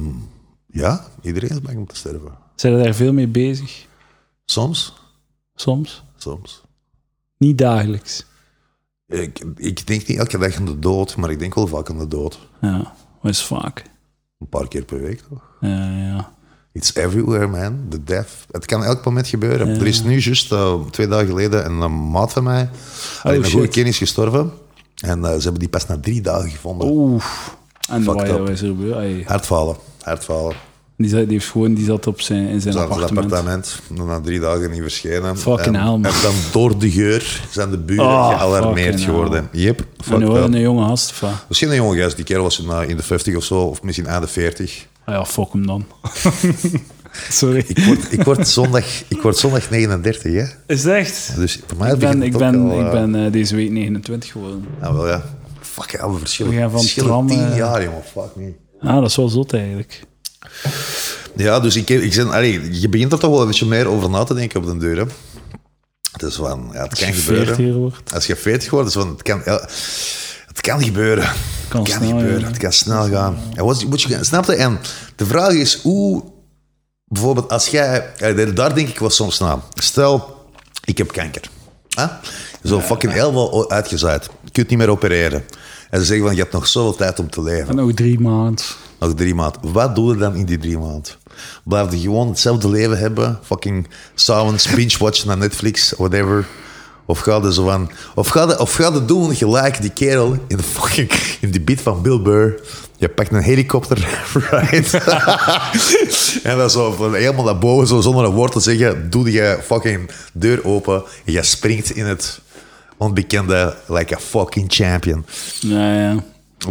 A: ja, iedereen is bang om te sterven.
B: Zijn er daar veel mee bezig?
A: Soms,
B: Soms?
A: soms.
B: Niet dagelijks.
A: Ik, ik denk niet elke dag aan de dood, maar ik denk wel vaak aan de dood.
B: Ja, dat is vaak.
A: Een paar keer per week toch?
B: Ja, ja.
A: It's everywhere, man. The death. Het kan elk moment gebeuren. Er is nu juist eh, twee dagen geleden een eh, maat van mij, oh, een
B: shit.
A: goede kennis gestorven. En eh, ze hebben die pas na drie dagen gevonden.
B: Oeh. En
A: Fucked
B: wat
A: up.
B: is er gebeurd? Ai.
A: Hartfalen, hartfalen.
B: Die, zat, die, heeft gewoon, die zat op zijn, in zijn
A: Ze hadden het
B: appartement.
A: appartement, na drie dagen niet verschenen.
B: Fucking
A: en,
B: hell, man.
A: En dan door de geur zijn de buren
B: Oh,
A: gealarmeerd
B: fucking
A: geworden. Yep,
B: En
A: fucked
B: nu
A: up.
B: hoorde een jonge gast van...
A: Misschien een jonge gast, die kerel was in, eh, in de 50 of zo, of misschien aan de 40.
B: Ah ja, fuck hem dan. Sorry.
A: Ik word, ik word, zondag, ik word zondag 39, hè?
B: Is het echt?
A: Dus voor mij
B: Ik ben,
A: begint het
B: ik
A: ook
B: ben,
A: al,
B: ik
A: eh,
B: ben eh, deze week 29 geworden.
A: Ja, wel ja. Fuck, ja, we verschillen,
B: We gaan van
A: verschillen
B: tram,
A: tien
B: eh,
A: jaar, jongen. Fuck me.
B: Ah, dat is wel zot eigenlijk.
A: Ja, dus ik, ik ben, allee, je begint er toch wel een beetje meer over na te denken op den deur, hè? Het is van, ja, het kan gebeuren.
B: 40 wordt.
A: Als je 40 wordt, is van, het kan, ja, het kan gebeuren. Het
B: kan snel,
A: gebeuren.
B: ja.
A: Het kan snel gaan. En wat, moet je, gaan- snap je? En de vraag is hoe, bijvoorbeeld, als jij, eh, daar- daar denk ik wel soms na. Stel, ik heb kanker. Hè? Zo fucking helemaal uitgezaaid. Je kunt niet meer opereren. En ze zeggen van, je hebt nog zoveel tijd om te leven.
B: En nog drie maanden.
A: Nog drie maanden. Wat doe je dan in die drie maanden? Blijf je gewoon hetzelfde leven hebben? Fucking s'avonds binge-watchen naar Netflix, whatever. Of ga je zo van... Of ga je, of ga je doen gelijk die kerel in, de fucking, in die beat van Bill Burr. Je pakt een helikopter, right? en dan zo van helemaal naar boven, zo zonder een woord te zeggen, doe je fucking deur open en je springt in het onbekende like a fucking champion.
B: Ja, ja.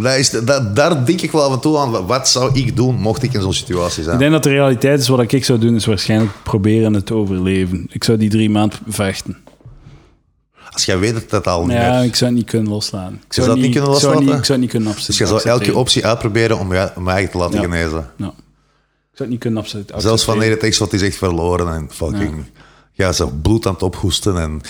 A: Dat is, dat, daar denk ik wel af en toe aan. Wat zou ik doen mocht ik in zo'n situatie
B: Ik
A: zijn?
B: denk dat de realiteit is wat ik zou doen, is waarschijnlijk proberen het te overleven. Ik zou die drie maanden vechten.
A: Als jij weet dat dat al niet
B: Ja,
A: meer...
B: ik zou het niet kunnen loslaten. Ik
A: zou het niet kunnen
B: ik zou
A: loslaten?
B: niet- Ik zou het niet kunnen absor-
A: Dus jij zou
B: accepteren.
A: elke optie uitproberen om je, om je eigen te laten
B: Ja.
A: genezen.
B: Ja. Ik zou het niet kunnen absor-
A: Zelfs wanneer
B: accepteren.
A: het echt wat is echt verloren en fucking... Ja, ze bloed aan het ophoesten en...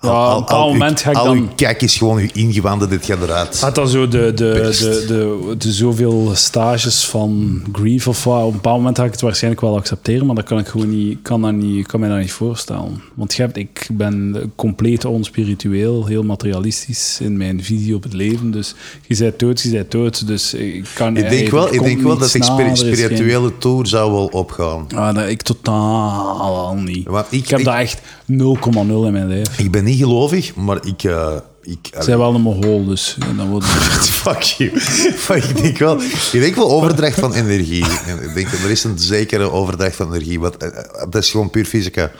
A: Al,
B: op een bepaald
A: uw-
B: moment ga ik
A: al
B: dan- Ah,
A: uw kijk is gewoon uw ingewanden, dit gaat eruit.
B: Had dan zo de, de,
A: Best.
B: de, de, de zoveel stages van grief of wat. Op een bepaald moment ga ik het waarschijnlijk wel accepteren, maar dat kan ik gewoon niet, kan dat niet, kan mij dat niet voorstellen. Want je hebt, ik ben compleet onspiritueel, heel materialistisch in mijn visie op het leven. Dus je bent dood, je bent dood. Dus ik kan
A: ik denk wel, ik denk wel dat ik
B: ik
A: spiri- spirituele tour zou wel opgaan.
B: Ah, dat ik totaal niet.
A: Want ik-
B: ik, heb
A: ik-
B: dat echt 0,0 in mijn lijf.
A: Ik ben niet gelovig, maar ik... eh, ik
B: Ik ben wel een mogol, dus eh, dan wordt het...
A: Fuck you. Maar ik denk wel, ik denk wel overdracht van energie. En Ik denk, er is een zekere overdracht van energie. Want eh, eh, dat is gewoon puur fysica.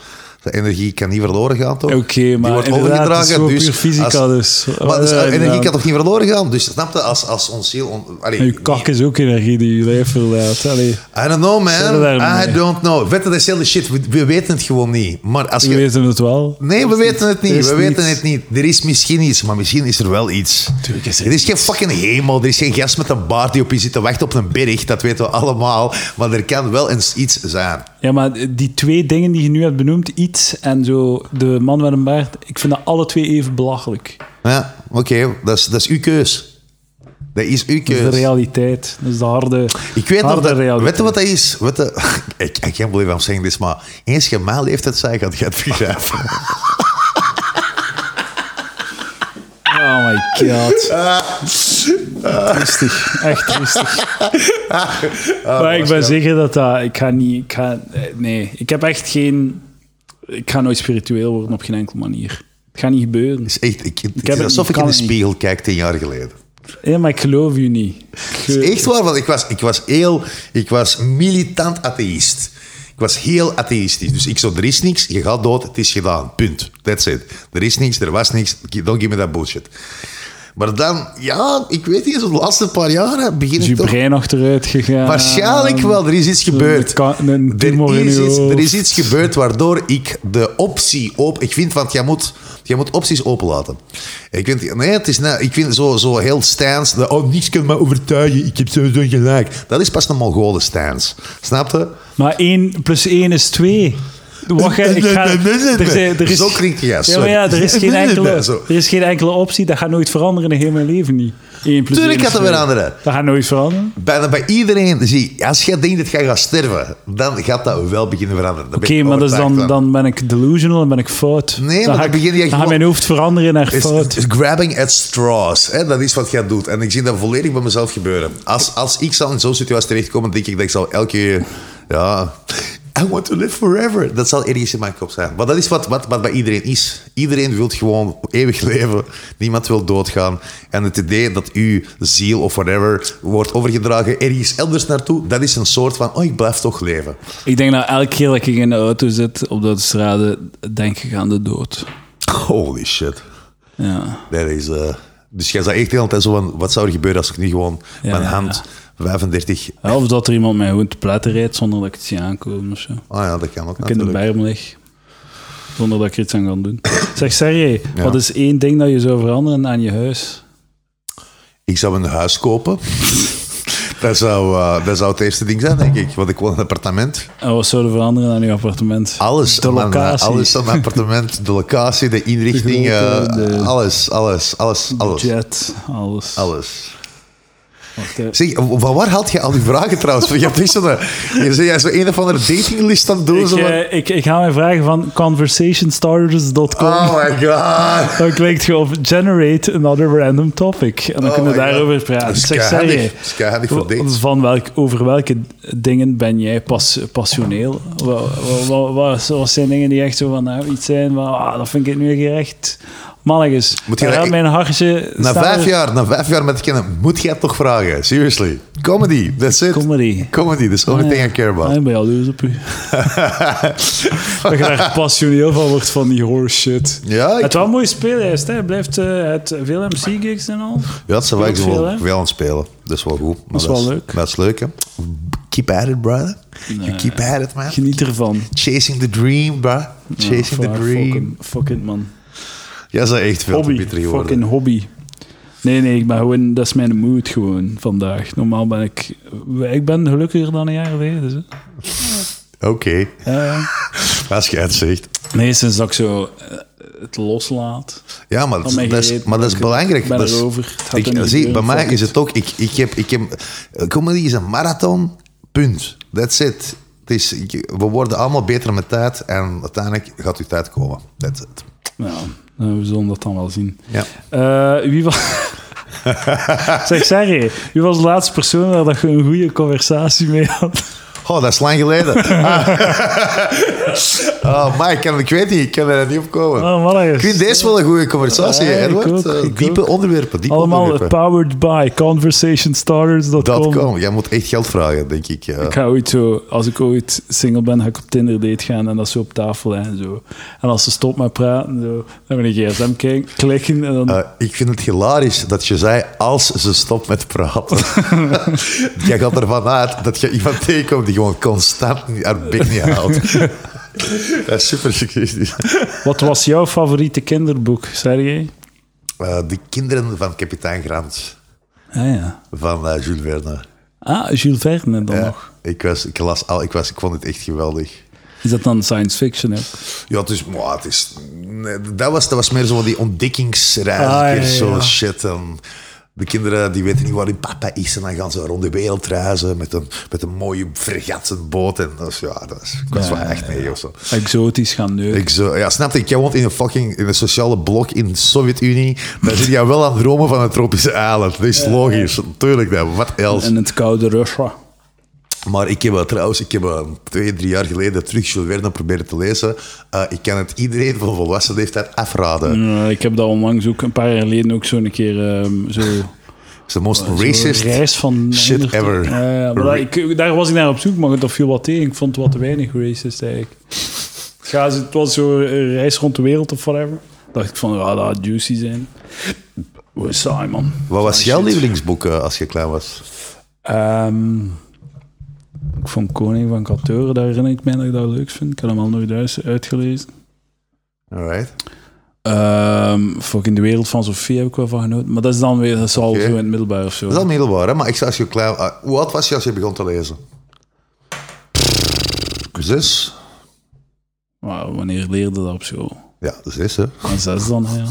A: De energie kan niet verloren gaan, toch?
B: Oké, maar inderdaad, het is gewoon puur fysica, dus.
A: Maar dus,
B: Ja,
A: eh, energie
B: inderdaad.
A: kan toch niet verloren gaan? Dus snap je, als, als ons ziel... On, allee,
B: En je kak is ook energie die je lijf verlaat. Allee,
A: I don't know,
B: Zullen we
A: man.
B: daar
A: I
B: mee?
A: don't know. Weet je, dat is heel de shit. We, we weten het gewoon niet. Maar als
B: we
A: je...
B: weten het wel.
A: Nee, we weten het niet.
B: Er is
A: We weten
B: niets.
A: het niet. Er is misschien iets, maar misschien is er wel iets.
B: Tuurlijk is er
A: er is geen fucking hemel. Er is geen gast met een baard die op je zit te wachten op een berg. Dat weten we allemaal. Maar er kan wel eens iets zijn.
B: Ja, maar die twee dingen die je nu hebt benoemd, iets en zo, de man met een baard, ik vind dat alle twee even belachelijk.
A: Ja, oké. Dat, is, dat is uw keus. Dat is uw
B: Dat is de
A: keus.
B: realiteit. Dat is de harde,
A: Ik weet nog
B: harde
A: dat.
B: realiteit.
A: Weet je wat dat is? Weet je, ik, ik can't believe I'm saying this, maar eens je mijn leeftijd zei, gaat je het begrijpen.
B: Oh my god.
A: Ah.
B: Rustig, echt rustig.
A: Ah,
B: maar ik ben zeker dat dat... Ik ga niet... Ik ga, eh, nee, ik heb echt geen... Ik ga nooit spiritueel worden op geen enkele manier. Het gaat niet gebeuren.
A: Het is echt. Ik, het is
B: het niet,
A: alsof ik
B: kan
A: in de
B: het niet.
A: spiegel kijk tien jaar geleden.
B: Ja, maar ik geloof u niet. Ik
A: Het is
B: geloof-
A: Echt waar, want ik was, ik was heel... Ik was militant atheïst. Ik was heel atheïstisch. Dus ik zo, er is niks, je gaat dood, het is gedaan. Punt. That's it. Er is niks, er was niks, don't give me that bullshit. Maar dan, ja, ik weet niet, zo de laatste paar jaren begin
B: Is
A: ik
B: uw
A: toch...
B: brein achteruit gegaan?
A: Waarschijnlijk wel, er is iets gebeurd.
B: Ehm, Een ka- een tumor
A: er,
B: in
A: is
B: uw
A: iets, er
B: hoofd.
A: is iets gebeurd waardoor ik de optie op. Ik vind, want jij moet, jij moet opties openlaten. Ik vind, nee, het is, nou- ik vind zo, zo heel stijns. dat, Oh, niks kan me overtuigen, ik heb sowieso gelijk. Dat is pas een Mongolen stijns. Snap je?
B: Maar 1 plus 1 is 2. Wacht, hè, ik ga... Er, zijn- er is,
A: Zo klinkt je, ja,
B: ja, maar ja, er is,
A: sorry.
B: geen enkele,
A: Zo.
B: er is geen enkele optie. Dat gaat nooit veranderen in heel mijn leven niet. Eén plus
A: Tuurlijk
B: één
A: gaat dat weer
B: is twee.
A: andere.
B: Dat gaat nooit veranderen.
A: Bijna bij iedereen, zie, als jij denkt dat jij gaat sterven, dan gaat dat wel beginnen veranderen. Daar ben
B: Oké,
A: ik
B: maar dat is dan,
A: overtuigd van.
B: dan ben ik delusional en ben ik fout.
A: Nee, maar
B: dan
A: dan
B: ga ik-
A: begin je
B: dan gaat
A: gewoon-
B: mijn hoofd veranderen naar
A: Is-
B: fout.
A: is grabbing at straws, hè? dat is wat jij doet. En ik zie dat volledig bij mezelf gebeuren. Als, als ik zal in zo'n situatie terechtkomen, denk ik dat ik zal elke keer... Ja, I want to live forever. Dat zal ergens in mijn kop zijn. Maar dat is wat, wat, wat bij iedereen is. Iedereen wil gewoon eeuwig leven. Niemand wil doodgaan. En het idee dat uw ziel of whatever wordt overgedragen ergens elders naartoe, dat is een soort van, oh, ik blijf toch leven.
B: Ik denk dat elke keer dat ik in de auto zit op de autostrade, denk ik aan de dood.
A: Holy shit.
B: Ja.
A: Nee, dat is... eh, dus jij zou echt de hele tijd zo van, wat zou er gebeuren als ik nu gewoon
B: Ja,
A: mijn
B: ja,
A: hand 35
B: Ja, Of dat er iemand mij gewoon te platen rijdt zonder dat ik het zie aankomen of zo. Dat
A: Ah ja, dat kan ook
B: ik in de
A: natuurlijk.
B: berm lig. Zonder dat ik er iets aan kan doen. Zeg, Sergej,
A: Ja.
B: wat is één ding dat je zou veranderen aan je huis?
A: Ik zou een huis kopen. dat, zou, eh, dat zou het eerste ding zijn, denk ik. Want ik woon in een appartement.
B: En wat zou er veranderen aan je appartement?
A: Alles.
B: De
A: aan mijn- eh,
B: locatie.
A: alles aan mijn appartement. De locatie, de inrichting.
B: De grootte,
A: eh,
B: de-
A: Alles, alles, alles, alles.
B: Budget, alles.
A: Alles.
B: Wacht, hè.
A: Zeg, van waar haalt je al die vragen trouwens? Want Je hebt echt zo'n... eh, Je zei, jij zo een of andere datinglist aan het doen.
B: Ik,
A: zo van-
B: eh, ik, ik ga mij vragen van conversationstarters.com.
A: Oh my god.
B: Dan klikt je op generate another random topic. En dan
A: Oh
B: kunnen we
A: my God.
B: daarover praten.
A: Dat is
B: Zeg,
A: keihandig.
B: Sergej,
A: Dat is keihandig voor dates.
B: Van welk, over welke dingen ben jij pas, passioneel? Wat, wat, wat, wat- wat zijn dingen die echt zo van nou, iets zijn van ah, dat vind ik nu echt echt mannetjes.
A: Moet je
B: Daar
A: dat-
B: gaat mijn hartje
A: Na
B: staan.
A: vijf jaar, na vijf jaar met kennen, moet jij het toch vragen? Seriously. Comedy, that's it.
B: Comedy.
A: Comedy, that's the only
B: Ah, ja.
A: thing I care
B: Ah,
A: about.
B: Ik ben jaloers op u. dat je daar passioneel van wordt van die horse shit.
A: Ja, ik
B: Het was een mooie speellijst, hè. Hij blijft eh, uit veel MC-gigs en al.
A: Ja, dat zijn
B: Heel
A: wel
B: veel,
A: veel,
B: hè?
A: veel aan het spelen. Dat is wel goed. Maar
B: Dat is wel leuk.
A: Dat is leuk, hè? Keep at it, brother. You keep at it, man.
B: Geniet ervan.
A: Chasing the dream, bro. Chasing
B: Ja,
A: the
B: fuck,
A: dream.
B: Fucking, fucking man.
A: Ja, ze is echt veel te
B: Hobby.
A: bitter geworden.
B: Fucking hobby. Nee, nee, ik ben gewoon, dat is mijn mood gewoon vandaag. Normaal ben ik, ik ben gelukkiger dan een jaar geleden. Dus, hè.
A: Oké,
B: Ja, ja.
A: als jij het zegt.
B: nee, sinds dat ik zo eh, het loslaat.
A: Ja, maar dat,
B: Van mij
A: dat is,
B: gereed,
A: maar dat is
B: ik
A: belangrijk.
B: ben
A: dat is-
B: erover. Het gaat er
A: ik,
B: niet
A: zie, bij
B: gebeuren,
A: mij
B: fuck
A: is
B: it.
A: het ook... Ik, ik heb, ik heb, comedy is een marathon, punt. That's it. Het is, ik- we worden allemaal beter met tijd en uiteindelijk gaat uw tijd komen. That's it.
B: Nou, eh, we zullen dat dan wel zien.
A: Ja.
B: Eh, wie was... zeg, Sergej, wie was de laatste persoon waar dat je een goede conversatie mee had?
A: Oh, dat is lang geleden. Ah. oh, maar ik, kan, ik weet niet, ik kan er niet op komen.
B: Oh,
A: ik
B: mannetjes.
A: vind deze wel een goede conversatie,
B: Ja, ik
A: Edward.
B: ook,
A: Eh,
B: ik
A: diepe onderwerpen, diepe
B: Allemaal
A: onderwerpen.
B: powered by
A: Dat
B: conversationstarters.com.
A: kan. Jij moet echt geld vragen, denk ik. ja.
B: Ik ga ooit zo, als ik ooit single ben, ga ik op Tinder date gaan en dat zo op tafel hè, en zo. En als ze stopt met praten, zo, dan ben ik gsm kijken, klikken en dan...
A: Eh, ik vind het hilarisch dat je zei als ze stopt met praten. Jij gaat ervan uit dat je iemand tegenkomt die gewoon constant niet- haar bek niet houdt. dat is super seksistisch.
B: Wat was jouw favoriete kinderboek, Sergej?
A: Eh, de kinderen van kapitein Grant
B: Ah ja.
A: van eh, Jules Verne.
B: Ah, Jules Verne dan
A: Ja,
B: nog.
A: ik, was, ik, las al, ik, was, ik vond het echt geweldig.
B: Is dat dan science fiction ook?
A: Ja, het is... Maar het is nee, dat, was, dat was meer zo van die ontdekkingsreis.
B: Ah, ja,
A: Een keer zo
B: ja.
A: shit. En de kinderen die weten niet waar hun papa is. En dan gaan ze rond de wereld reizen met een, met een mooie fregattenboot. En dat is, ja, dat is, ik was
B: Ja,
A: wel
B: ja,
A: echt mee of zo.
B: Exotisch gaan neuken.
A: Ik zo, ja, snap je? Jij woont in een fucking in een sociale blok in de Sovjet-Unie. Dan zit jij wel aan het dromen van een tropische eiland. Dat is logisch. Tuurlijk, dat. Wat else?
B: En het koude Russia.
A: Maar ik heb eh, trouwens, ik heb eh, twee, drie jaar geleden terug Jules Verne proberen te lezen. Eh, ik kan het iedereen van volwassen leeftijd afraden.
B: Eh, ik heb dat onlangs ook, een paar jaar geleden ook zo'n keer ehm zo...
A: It's the most
B: Een
A: racist.
B: reis van
A: shit
B: honderd-
A: ever.
B: Ja, ja, maar dat- ik, eh, daar was ik naar op zoek, maar dat viel wat tegen. Ik vond het wat te weinig racist eigenlijk. Het gaat- Het was zo'n eh, reis rond de wereld of whatever. Dacht ik van, ja, dat had juicy zijn. Hoe saai, man.
A: Wat was
B: Saai
A: jouw
B: Ah, shit.
A: lievelingsboek eh, als je klein was?
B: Ehm, ik vond Koning van Kateuren, daar herinner ik mij dat ik dat leuk vind. Ik heb hem al nooit uit- uitgelezen.
A: Alright.
B: Ehm fucking De Wereld van Sophie heb ik wel van genoten. Maar dat is dan weer, dat is al
A: Oké.
B: zo in het middelbaar of zo.
A: Dat is al middelbaar, hè? maar ik zei als je klein... eh, hoe oud was je als je begon te lezen? Zes?
B: Maar wanneer leerde dat op school?
A: Ja, dat is hè.
B: En zes dan, ja.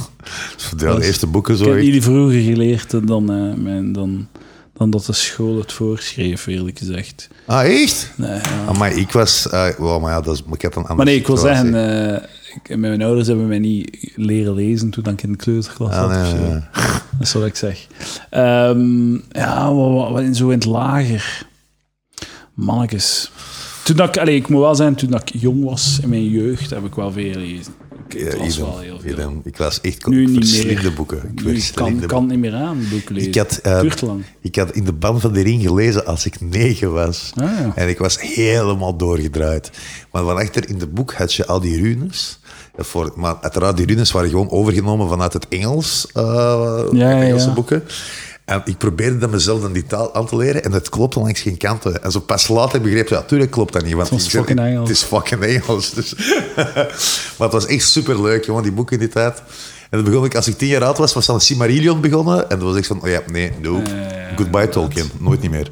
A: Ja, de eerste boeken zo.
B: Ik heb
A: echt-
B: jullie vroeger geleerd hè, dan, eh, mijn, dan, dan dat de school het voorschreef, eerlijk gezegd.
A: Ah, echt?
B: Nee, ja.
A: Maar ik was... eh wow, maar ja, dat is, maar ik had een andere
B: Maar nee, ik wil
A: situatie.
B: zeggen, eh, ik- mijn ouders hebben mij niet leren lezen toen ik in de kleuterklas
A: Ah,
B: zat.
A: nee,
B: of zo.
A: nee, nee.
B: Dat is wat ik zeg. Ehm, ja, wat, wat, wat in zo in het lager. Mannetjes. Toen dat ik, allee, ik moet wel zijn, toen dat ik jong was in mijn jeugd, heb ik wel veel gelezen. Ik
A: Ja,
B: las
A: idem,
B: wel heel veel.
A: idem. Ik was echt
B: Nu niet
A: verslinde
B: meer.
A: boeken. Ik
B: Nu
A: verslind de
B: kan,
A: boeken.
B: kan het niet meer aan, boeken lezen.
A: Ik had, eh,
B: Duurt lang.
A: ik had in de band van de ring gelezen als ik negen was.
B: Ah, ja.
A: En ik was helemaal doorgedraaid. Maar vanachter in de boek had je al die runes. En Voor, maar uiteraard, die runes waren gewoon overgenomen vanuit het Engels, eh,
B: ja,
A: Engelse
B: ja.
A: boeken. En ik probeerde dat mezelf dan die taal aan te leren en dat klopte langs geen kanten. En zo pas later begreep ik, ja, tuurlijk klopt dat niet. Want
B: Het was
A: ik zei,
B: fucking Engels.
A: Het is fucking Engels. Dus. maar het was echt superleuk, jongen, die boeken in die tijd. En dan begon ik, als ik tien jaar oud was, was dan Simarillion begonnen. En dat was echt van, oh ja, nee, nope. Goodbye Tolkien, nooit niet meer.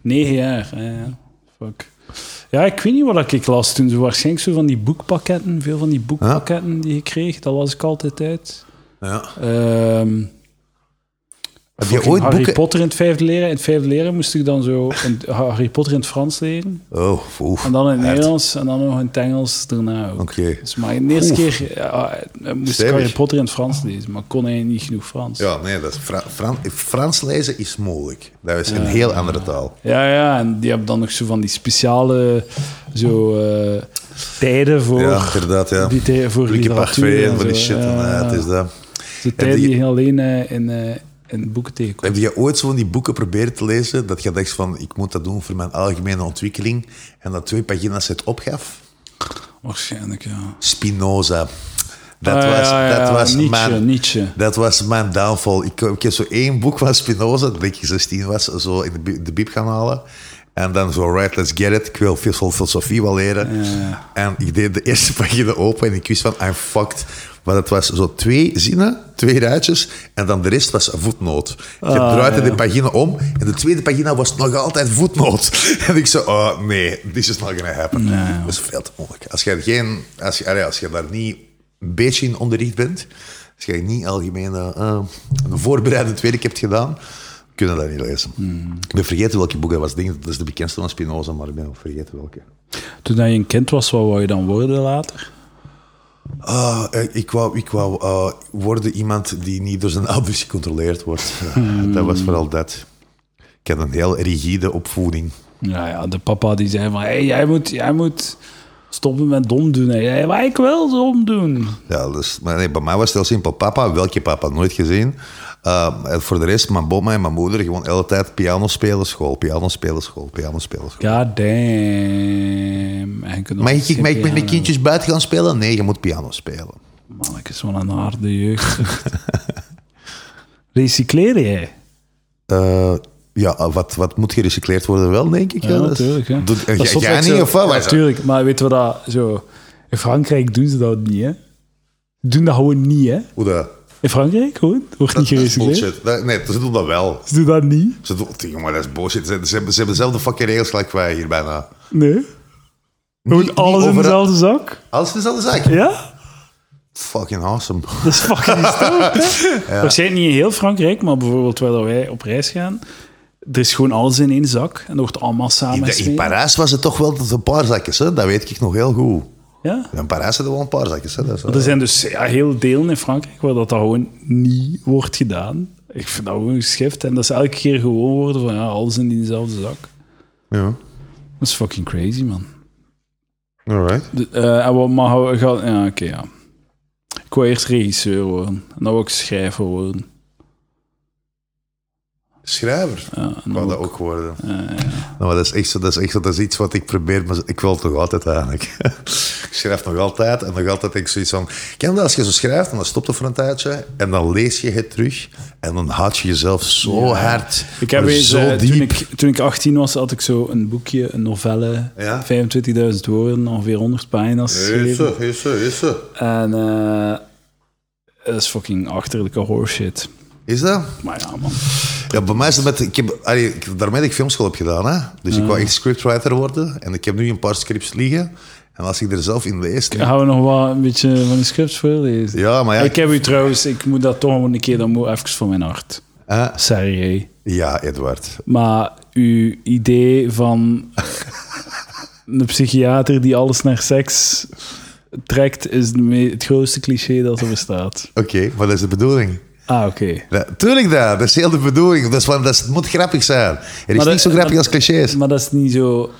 B: Negen jaar. ja, ja. Fuck. Ja, ik weet niet wat ik las toen. Zo waarschijnlijk zo van die boekpakketten. Veel van die boekpakketten die je kreeg, dat las ik altijd uit.
A: Ja.
B: Ehm,
A: Heb je
B: fucking
A: ooit
B: Harry
A: boeken...
B: Potter in het vijfde leren. In het vijfde leren moest ik dan zo een, Harry Potter in het Frans leren.
A: Oh, oef.
B: En dan in het
A: Hard.
B: Nederlands en dan nog in het Engels daarna ook.
A: Oké.
B: Dus maar de eerste keer ja, eh, moest
A: Stevig.
B: ik Harry Potter in het Frans lezen, maar kon hij niet genoeg Frans.
A: Ja, nee, dat is Fra- Fran- Frans lezen is moeilijk. Dat is een heel andere taal.
B: Ja, ja, en die hebben dan nog zo van die speciale zo, eh, tijden voor,
A: Ja, inderdaad, ja.
B: die tijden voor
A: Lucky Parfait
B: literatuur.
A: en van die
B: zo.
A: shit. en,
B: Ja,
A: eh, het is dat.
B: de tijden
A: die-
B: die je alleen eh, in, eh, in boeken tegenkomt.
A: Heb je ooit zo van die boeken proberen te lezen, dat je dacht van, ik moet dat doen voor mijn algemene ontwikkeling, en dat twee pagina's het opgaf?
B: Waarschijnlijk, ja.
A: Spinoza. Dat
B: Ah,
A: was,
B: ja, ja,
A: dat
B: ja,
A: was
B: Nietzsche,
A: mijn...
B: Nietzsche.
A: Dat was mijn downfall. Ik, ik heb zo één boek van Spinoza, dat ik 16 was, zo in de, bi- de bieb gaan halen. En dan zo, right, let's get it. Ik wil veel veel filosofie wel leren.
B: Ja.
A: En ik deed de eerste pagina open en ik wist van, I'm fucked. Maar dat was zo twee zinnen, twee rijtjes, en dan de rest was een voetnoot. Je
B: Ah,
A: draaide de pagina om en de tweede pagina was nog altijd voetnoot. En ik zo, oh nee, this is not gonna happen. Dat is veel te moeilijk. Als je, geen, als je, allee, als je daar niet een beetje in onderricht bent, als je niet algemeen eh, eh, een voorbereidend werk hebt gedaan, kunnen dat niet lezen. Ik ben vergeten welke boek dat was. Ik denk dat is de bekendste van Spinoza, maar ik ben wel vergeten welke.
B: Toen dat je een kind was, wat wou je dan worden later?
A: Ah, eh, ik wou, ik wou eh, worden iemand die niet door zijn ouders gecontroleerd wordt. Eh, Dat was vooral dat. Ik had een heel rigide opvoeding.
B: Ja, ja, de papa die zei van, hey, jij, moet, jij moet stoppen met dom doen. En jij, maar ik wil dom doen.
A: Ja, dus, maar nee, bij mij was het heel simpel. Papa, welke papa? Nooit gezien. Eh, en voor de rest, mijn mama en mijn moeder gewoon de hele tijd piano spelen, school, piano spelen, school, piano spelen, school.
B: God damn. En je kunt nog
A: Mag ik,
B: geen
A: mag ik met mijn
B: piano.
A: kindjes buiten gaan spelen? Nee, je moet piano spelen.
B: Mannetjes, wat een harde jeugd. Recycleer jij?
A: Eh, ja, wat, wat moet gerecycleerd worden wel, denk ik.
B: Ja,
A: dat is-
B: natuurlijk. Hè.
A: Doet- en
B: Dat
A: jij-
B: is zot
A: jij
B: dat
A: niet,
B: zo-
A: of wat?
B: Ja,
A: Wij-
B: natuurlijk, maar weten we dat zo... In Frankrijk doen ze dat niet, hè? Ze doen dat gewoon niet, hè?
A: Hoe dat?
B: In Frankrijk gewoon? Wordt niet
A: Dat is
B: gerecycleerd?
A: bullshit. Dat- Nee, ze doen dat wel.
B: Ze doen dat niet?
A: Ze doen, Tjonge, maar dat is bullshit. Ze, ze hebben, ze hebben dezelfde fucking regels gelijk wij hier bijna.
B: Nee? Gewoon
A: niet
B: alles in
A: overal-
B: dezelfde zak?
A: Alles is dezelfde zaak.
B: Ja?
A: Fucking awesome.
B: Dat is fucking stout, hè? Waarschijnlijk niet in heel Frankrijk, maar bijvoorbeeld waar dat wij op reis gaan... Er is gewoon alles in één zak en dat wordt allemaal
A: In,
B: samen
A: de- in Parijs was het toch wel tot een paar zakjes, hè? dat weet ik nog heel goed.
B: Ja?
A: In Parijs hadden we wel een paar zakjes. Hè? Dat is wel-
B: Er zijn dus ja, heel delen in Frankrijk waar dat, dat gewoon niet wordt gedaan. Ik vind dat gewoon geschift. En dat is elke keer gewoon worden van ja, alles in diezelfde zak.
A: Ja,
B: Dat is fucking crazy, man.
A: alright.
B: De- eh, en wat mag we gaan... Ja, oké, ja. Ik wou eerst regisseur worden. En dan wil ik schrijver worden.
A: Schrijver
B: Ja, en
A: wou
B: dan
A: dat ook worden. Nou, maar dat is echt zo, dat is echt zo, dat is iets wat ik probeer, maar ik wil het nog altijd eigenlijk. ik schrijf nog altijd en nog altijd denk ik zoiets van, ken dat als je zo schrijft en dan stopt het voor een tijdje en dan lees je het terug en dan haat je jezelf zo hard,
B: Ik heb
A: maar
B: eens,
A: zo
B: eh,
A: diep.
B: toen, ik, toen ik 18 was, had ik zo een boekje, een novelle,
A: Ja.
B: 25.000 woorden, ongeveer 100 pagina's geschreven.
A: Heerse, heerse, heerse.
B: En eh, dat is fucking achterlijke horseshit.
A: Is dat?
B: Maar ja, man.
A: Ja, bij mij is het met... Ik heb, allee, ik- daarmee dat ik filmschool heb gedaan, hè. Dus ik wou echt scriptwriter worden. En ik heb nu een paar scripts liggen. En als ik er zelf in lees... denk ik,
B: Gaan we nog wel een beetje van die scripts voorlezen?
A: Ja, maar ja...
B: Ik heb u trouwens, ik moet dat toch een keer, dat moet even voor mijn hart.
A: eh,
B: Sorry.
A: ja, Edward.
B: Maar uw idee van een psychiater die alles naar seks trekt, is de me- het grootste cliché dat er bestaat.
A: Oké, maar dat is de bedoeling.
B: Ah, oké.
A: Natuurlijk dat, dat is heel de bedoeling. Dat, is, van- dat is- het moet grappig zijn. Er is
B: dat-
A: niks zo grappig als clichés.
B: Maar dat is niet zo...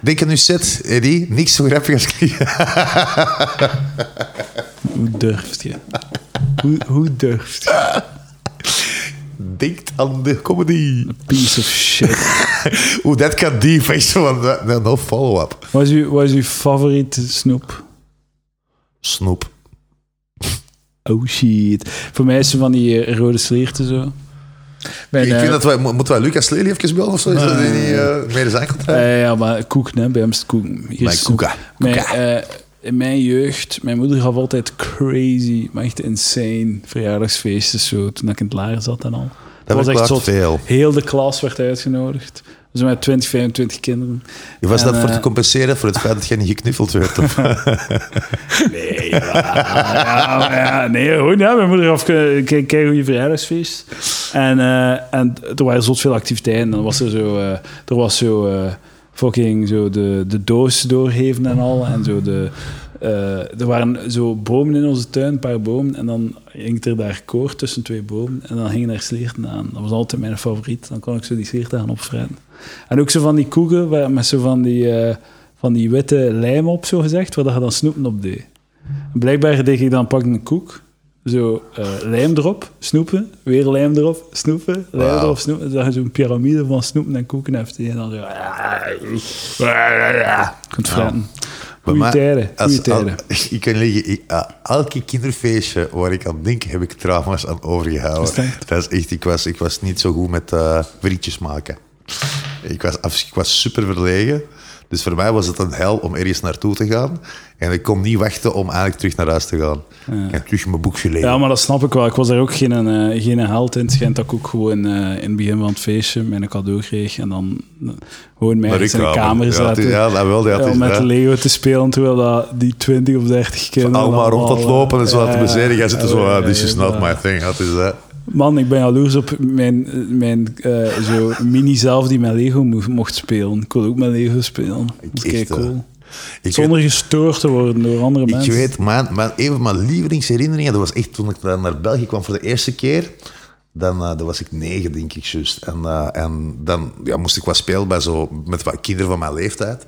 A: Denk aan uw set, Eddie. Niks zo grappig als clichés.
B: Hoe durft je? Hoe, hoe durft je?
A: Denk aan de comedy.
B: Piece of shit.
A: Oeh, dat kan die feesten van dat- dat- eh, nou, no follow-up.
B: Wat is uw, wat is uw favoriete snoep?
A: Snoep.
B: Oh shit. Voor mij is ze van die eh, rode slierten zo. Mijn,
A: ik
B: eh,
A: vind dat wij, mo- moeten wij Lucas Lely even bellen of zo? Is dat die niet eh, meer zijn contract?
B: Eh, ja, maar koek, hè? bij hem is het koek. Hier
A: Bij
B: is-
A: Koeka.
B: Mijn,
A: Koeka.
B: eh, in mijn jeugd, mijn moeder gaf altijd crazy, maar echt insane verjaardagsfeesten zo, toen ik in het lager zat en al.
A: Dat
B: was echt
A: verklaart
B: zot.
A: veel.
B: Heel de klas werd uitgenodigd. Zo met 20, 25 kinderen.
A: Was
B: En,
A: dat voor
B: eh,
A: te compenseren voor het feit dat je niet geknuffeld werd? Of?
B: Nee, ja, ja, maar ja, nee, goed, ja, mijn moeder gaf een ke- kei goede verjaardagsfeest. En, eh, en er waren zot veel activiteiten. Dan was er zo, eh, er was zo eh, fucking zo de, de doos doorgeven en al. En zo de, eh, er waren zo bomen in onze tuin, een paar bomen. En dan hing er daar koord tussen twee bomen. En dan hingen daar slierten aan. Dat was altijd mijn favoriet. Dan kon ik zo die slierten gaan opvreten. En ook zo van die koeken, waar- met zo van die... eh, van die witte lijm op, zo gezegd, waar dat je dan snoepen op deed. Blijkbaar deed ik dan pak een koek, zo eh, lijm erop, snoepen, weer lijm erop, snoepen, lijm
A: Wauw.
B: erop, snoepen. Dan zag je zo'n piramide van snoepen en koeken heeft. En dan zo... Kunt vreten.
A: Bij
B: Goeie
A: mij-
B: tijden,
A: als-
B: goeie
A: al-
B: tijden.
A: ik kan liggen, ik- a- elke kinderfeestje waar ik aan denk, heb ik trauma's aan overgehouden.
B: Verstand.
A: Dat is echt, ik was, ik was niet zo goed met eh vriendjes maken. Ik was, afs- ik was super verlegen. Dus voor mij was het een hel om ergens naartoe te gaan. En ik kon niet wachten om eigenlijk terug naar huis te gaan. En terug mijn boekje lezen.
B: Ja, maar dat snap ik wel. Ik was daar ook geen, eh, geen held in. Het schijnt dat ik ook gewoon eh, in het begin van het feestje mijn cadeau kreeg en dan eh, gewoon mij
A: Naar
B: ergens in de
A: uw kamer.
B: kamer
A: Ja, het
B: zaten.
A: is- ja, dat wel, ja, het
B: Ja,
A: is-
B: om met
A: ja.
B: de Lego te spelen, terwijl dat die 20 of 30 kinderen...
A: Allemaal
B: dan
A: rond aan het
B: al, eh,
A: lopen en zo aan te
B: ja,
A: bezedigen. Jij zit er zo,
B: ja,
A: ah, this is
B: ja,
A: not
B: ja.
A: my thing. Dat is dat.
B: Man, ik ben jaloers op mijn, mijn eh, zo mini zelf die met Lego mo- mocht spelen. Ik wil ook met Lego spelen. Dat is
A: echt,
B: kei cool.
A: eh, Ik
B: Zonder gestoord te worden door andere
A: Ik
B: mensen.
A: weet, mijn, mijn, een van mijn lievelingsherinneringen, dat was echt toen ik dan naar België kwam voor de eerste keer. Dan, eh, dan was ik negen, denk ik, juist. En, eh, en dan ja, moest ik wat spelen bij zo, met wat kinderen van mijn leeftijd.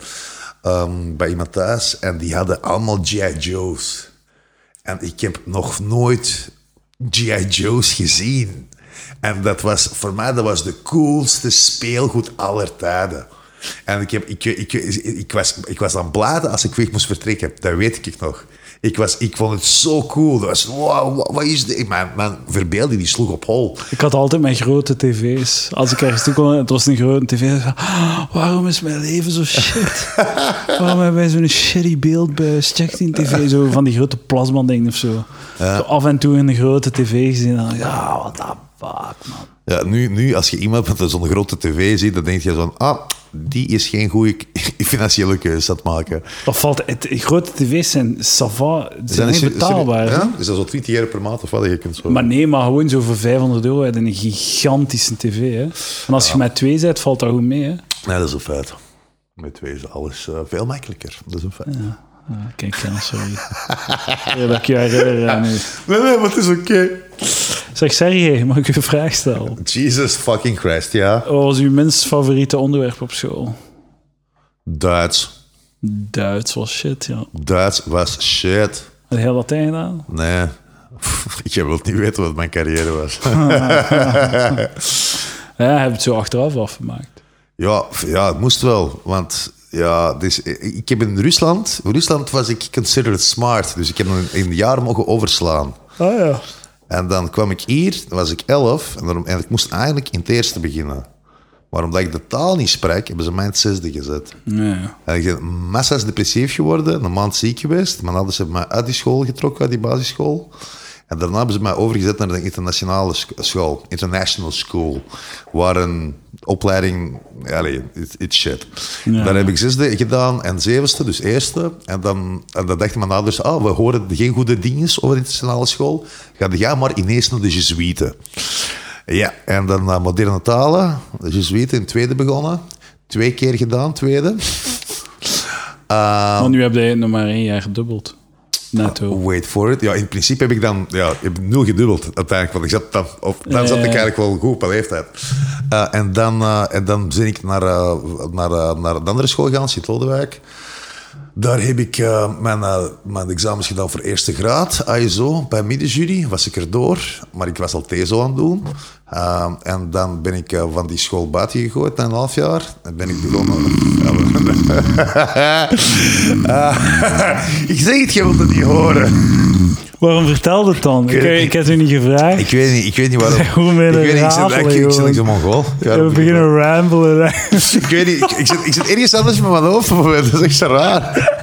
A: ehm, bij iemand thuis. En die hadden allemaal G.I. Joe's. En ik heb nog nooit G.I. Joe's gezien. En dat was voor mij dat was de coolste speelgoed aller tijden. En ik, heb, ik, ik, ik, was, ik was aan bladen als ik weg moest vertrekken. Dat weet ik nog. Ik, was, ik vond het zo cool. Dat was, wow, wat, wat is dit? Mijn, mijn verbeelding die sloeg op hol.
B: Ik had altijd mijn grote tv's. Als ik ergens toe kon, en het was een grote tv. dan zei ik, "Ah, waarom is mijn leven zo shit? waarom hebben wij zo'n shitty beeldbuis? Check die tv, zo van die grote plasma dingen of zo. Zo af en toe in de grote tv gezien. Dan, dacht ik, ja, wat de fuck, man.
A: Ja, nu, nu, als je iemand met zo'n grote tv ziet, dan denk je van... Ah, die is geen goede financiële keuze aan het maken.
B: Dat valt, het, grote tv's zijn sava, ze zijn
A: is
B: niet betaalbaar. hè?
A: Ja? Is dat zo 20 euro per maand of wat? Je kunt zo...
B: Maar nee, maar gewoon zo voor 500 euro heb je een gigantische tv. Hè? En als je met twee bent, valt dat goed mee. Hè?
A: Nee, dat is een feit. Met twee is alles eh, veel makkelijker. Dat is een feit.
B: Ah, kijk, ja, sorry. Ja, dat ik je herinner aan nu.
A: Nee, nee, maar het is oké.
B: Zeg Sergej, mag ik u een vraag stellen?
A: Jesus fucking Christ, ja.
B: Wat was uw minst favoriete onderwerp op school?
A: Duits.
B: Duits was shit, ja.
A: Duits was shit.
B: Had heel Latijn gedaan?
A: Nee. Je wilt niet weten wat mijn carrière was.
B: Ja, heb je het zo achteraf afgemaakt.
A: Ja, f- ja, het moest wel. Want ja, dus, eh, ik heb in Rusland... In Rusland was ik considered smart. Dus ik heb een, een jaar mogen overslaan.
B: Ah ja.
A: En dan kwam ik hier, dan was ik elf, en, daarom, en ik moest eigenlijk in het eerste beginnen. Maar omdat ik de taal niet sprak, hebben ze mij in het zesde gezet.
B: Nee.
A: En ik ben massa's depressief geworden, een maand ziek geweest. Mijn ouders hebben mij uit die school getrokken, uit die basisschool. En daarna hebben ze mij overgezet naar de internationale sc- school, international school, waar een opleiding, allee, it- it's shit.
B: Ja.
A: Daar heb ik zesde gedaan en zevende, dus eerste. En dan, en dan dachten mijn ouders, ah, we horen geen goede dingen over de internationale school, ga jij maar ineens naar de Jesuiten. Ja, en dan naar moderne talen, de Jesuiten in tweede begonnen. Twee keer gedaan, tweede.
B: Want nu heb je nog maar één jaar gedubbeld. Netto.
A: Wait for it. Ja, in principe heb ik dan ja, ik heb nul gedubbeld uiteindelijk. Want ik zat dan, of, dan
B: Ja,
A: zat
B: ja,
A: ik
B: ja.
A: eigenlijk wel goed op mijn leeftijd. Eh, en, dan, eh, en dan ben ik naar, eh, naar, eh, naar een andere school gegaan, Sint-Lodewijk. Daar heb ik eh, mijn, eh, mijn examens gedaan voor eerste graad, ISO. Bij middenjury was ik erdoor, maar ik was al TESO aan het doen. Eh, en dan ben ik eh, van die school buiten gegooid na een half jaar. En ben ik begonnen... Ah, ik zeg het, je wilt het niet horen.
B: Waarom vertelde het dan? Ik, eh,
A: weet-
B: ik heb het u niet gevraagd.
A: Ik weet niet, ik weet niet waarom.
B: Hoe ben je
A: ik weet niet, ik zit,
B: rafelen,
A: ik, ik zit
B: jongen?
A: in zo'n Mongool. Ik, weet
B: we
A: niet.
B: beginnen rambelen.
A: ik weet niet, ik, ik zit, ik zit ergens anders met mijn hoofd op het moment. Dat is echt zo raar.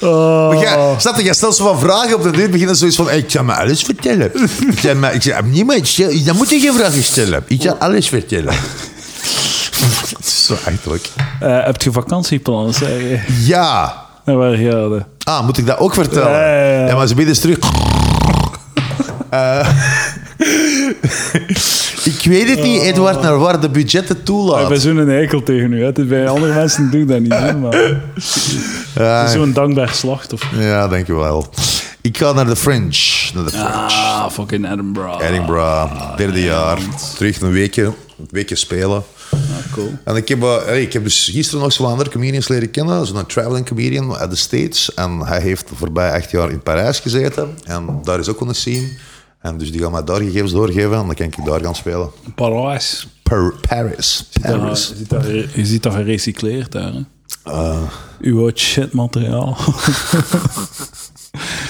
B: Oh.
A: Maar jij, snap je, jij stelt zo van vragen op de deur, beginnen zoiets van, "Hey, ik zal me alles vertellen. Ik zal me, ik zeg, niemand, stel- dan moet je geen vragen stellen. Ik zal alles vertellen. Het is zo eigenlijk.
B: Eh, heb je vakantieplannen, zeg je?
A: Ja.
B: Naar waar ga je?
A: Ah, moet ik dat ook vertellen?
B: Ja, ja, ja.
A: Ja, maar ze bieden eens terug. Eh, ik weet het niet, Edward, naar waar de budgetten
B: Ik
A: toelaten.
B: ben zo'n eikel tegen u. Hè. Dit- Bij andere mensen doe ik dat niet. Hè, maar het
A: Ja,
B: is zo'n dankbaar slachtoffer.
A: Ja, dankjewel. Ik ga naar de French. Naar de French.
B: Ah, fucking Edinburgh.
A: Edinburgh, derde jaar. Terug een weekje, een weekje spelen.
B: Ah, cool.
A: En ik heb, eh, hey, ik heb dus gisteren nog zo'n andere comedians leren kennen. Zo'n traveling comedian uit de States. En hij heeft de voorbije acht jaar in Parijs gezeten. En daar is ook wel een scene. En dus die gaan mij daar gegevens doorgeven. En dan kan ik daar gaan spelen.
B: Parijs.
A: Per- Paris.
B: Ja, je,
A: Paris.
B: ziet dat, je ziet dat gerecycleerd daar. Hè? Uw oud shitmateriaal.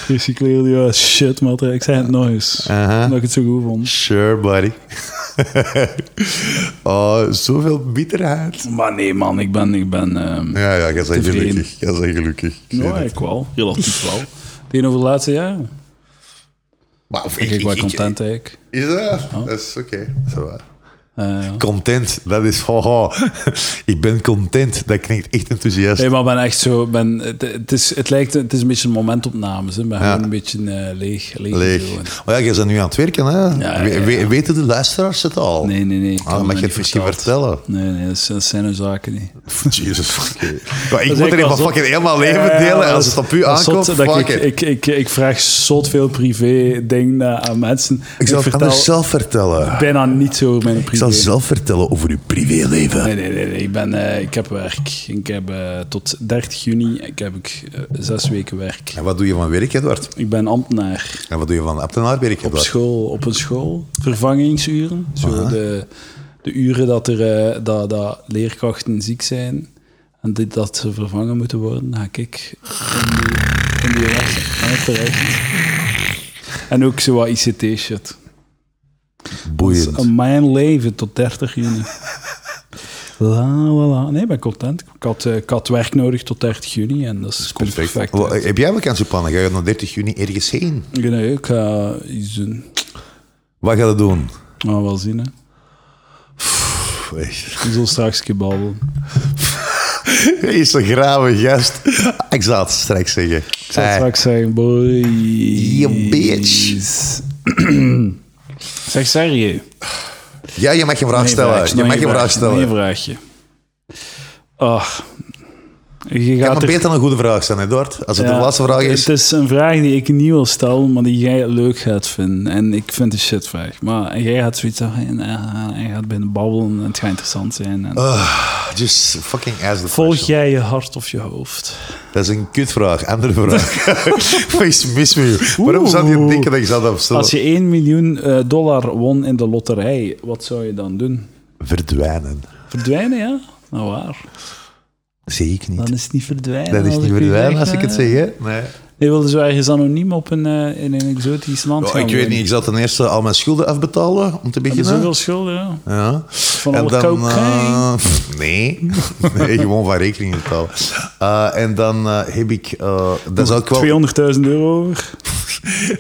B: Recycleer je oud shitmateriaal. Ik zei het nog eens.
A: Aha.
B: Omdat ik het zo goed vond.
A: Sure, buddy. oh, zoveel bitterheid.
B: Maar nee, man. Ik ben... Ik ben ehm,
A: Ja, ja, jij bent
B: Tevreden.
A: gelukkig. Jij bent gelukkig. Ik weet
B: nou,
A: het.
B: ik wel. Relatief wel. Tegenover de laatste jaren.
A: Maar of
B: Ik ben content, eigenlijk.
A: Is dat? Dat is oké. Dat is waar.
B: Eh,
A: Content, dat is haha. ik ben content, dat klinkt echt enthousiast.
B: Nee, maar ik ben echt zo. Ben, het, het is, het, lijkt, het is een beetje een momentopnames. Hè. Ik ben gewoon een beetje eh, leeg. leeg,
A: Leeg.
B: zo.
A: Maar ja, jij bent nu aan het werken, hè?
B: ja,
A: We-
B: ja.
A: we- weten de luisteraars het al?
B: Nee, nee, nee. ik
A: Ah, mag
B: kan me
A: je het
B: niet
A: misschien
B: verteld.
A: vertellen?
B: Nee, nee, dat zijn- dat zijn hun zaken niet.
A: Jezus, fuck. it. Maar ik
B: Dat is
A: moet
B: echt
A: er
B: wel
A: helemaal
B: zot.
A: fucking helemaal leven
B: Ja,
A: delen. En
B: dat
A: als
B: is-
A: het op u
B: dat is zot,
A: aankomt,
B: dat
A: fuck
B: ik,
A: it.
B: ik, ik, ik vraag zot veel privé dingen eh, aan mensen.
A: Ik zal het
B: vertel
A: anders zelf vertellen.
B: bijna niets over mijn
A: Ik
B: privé.
A: zal zelf vertellen over uw privéleven.
B: Nee, nee, nee, nee. Ik, ben, eh, ik heb werk. Ik heb eh, tot 30 juni ik heb ik, eh, zes weken werk.
A: En wat doe je van werk, Edward?
B: Ik ben ambtenaar
A: En wat doe je van ambtenaarwerk,
B: op
A: Edward?
B: school, op een school. Vervangingsuren. Zo de, de uren dat, er, eh, dat, dat leerkrachten ziek zijn en dit, dat ze vervangen moeten worden, ga ik in die, in die les aan terecht. En ook zo wat ICT-shit.
A: Boeiend.
B: Mijn leven tot 30 juni. La, la, la. Nee, ik ben content. Ik had, eh, ik had werk nodig tot 30 juni en dat is perfect.
A: Wel, Heb jij vakantieplannen? Ga je naar 30 juni ergens heen?
B: Ik denk, ik ga iets doen.
A: Wat ga je doen?
B: Maar wel zien, hè.
A: Pff, echt.
B: Ik zal straks een keer babbelen.
A: Hij is een grave gast. Ik zal het straks zeggen.
B: Ik
A: Eh.
B: zal het straks zeggen, boy.
A: You bitch.
B: zeg serieus.
A: Ja, je mag je vraag stellen. je mag je vraag
B: Een
A: stellen.
B: vraagje. Ach. Je
A: Het
B: gaat
A: kan
B: er-
A: beter een goede vraag zijn, Edward. Als het
B: Ja,
A: de laatste vraag is.
B: Het is een vraag die ik niet wil stellen, maar die jij leuk gaat vinden. En ik vind het een shitvraag. Maar jij gaat zoiets zeggen en eh, je gaat binnen babbelen en het gaat interessant zijn. En
A: Ah, oh, Just fucking ask the
B: volg
A: question.
B: jij je hart of je hoofd?
A: Dat is een kutvraag. Andere vraag. Wat is mis met je? Waarom zou je
B: Oeh.
A: denken dat ik zou dat stellen?
B: Als je 1 miljoen eh, dollar won in de loterij, wat zou je dan doen?
A: Verdwijnen.
B: Verdwijnen, ja? Nou waar.
A: Dat zie ik niet.
B: Dan is het niet verdwijnen.
A: Dat is
B: als
A: niet
B: ik u
A: verdwijnen
B: zeg,
A: als ik het
B: eh.
A: zeg, hè? Nee.
B: Je wilde zo ergens anoniem op een, eh, in een exotisch land
A: Oh,
B: gaan
A: ik weet
B: wonen.
A: niet. Ik zal ten eerste al mijn schulden afbetalen, om te
B: Heb je
A: beginnen.
B: zoveel schulden, ja.
A: Ja.
B: Van alle cocaïne.
A: eh, pff, nee. nee, gewoon van rekening betalen. Eh, en dan eh, heb ik... eh dan zou ik wel...
B: 200.000 euro over.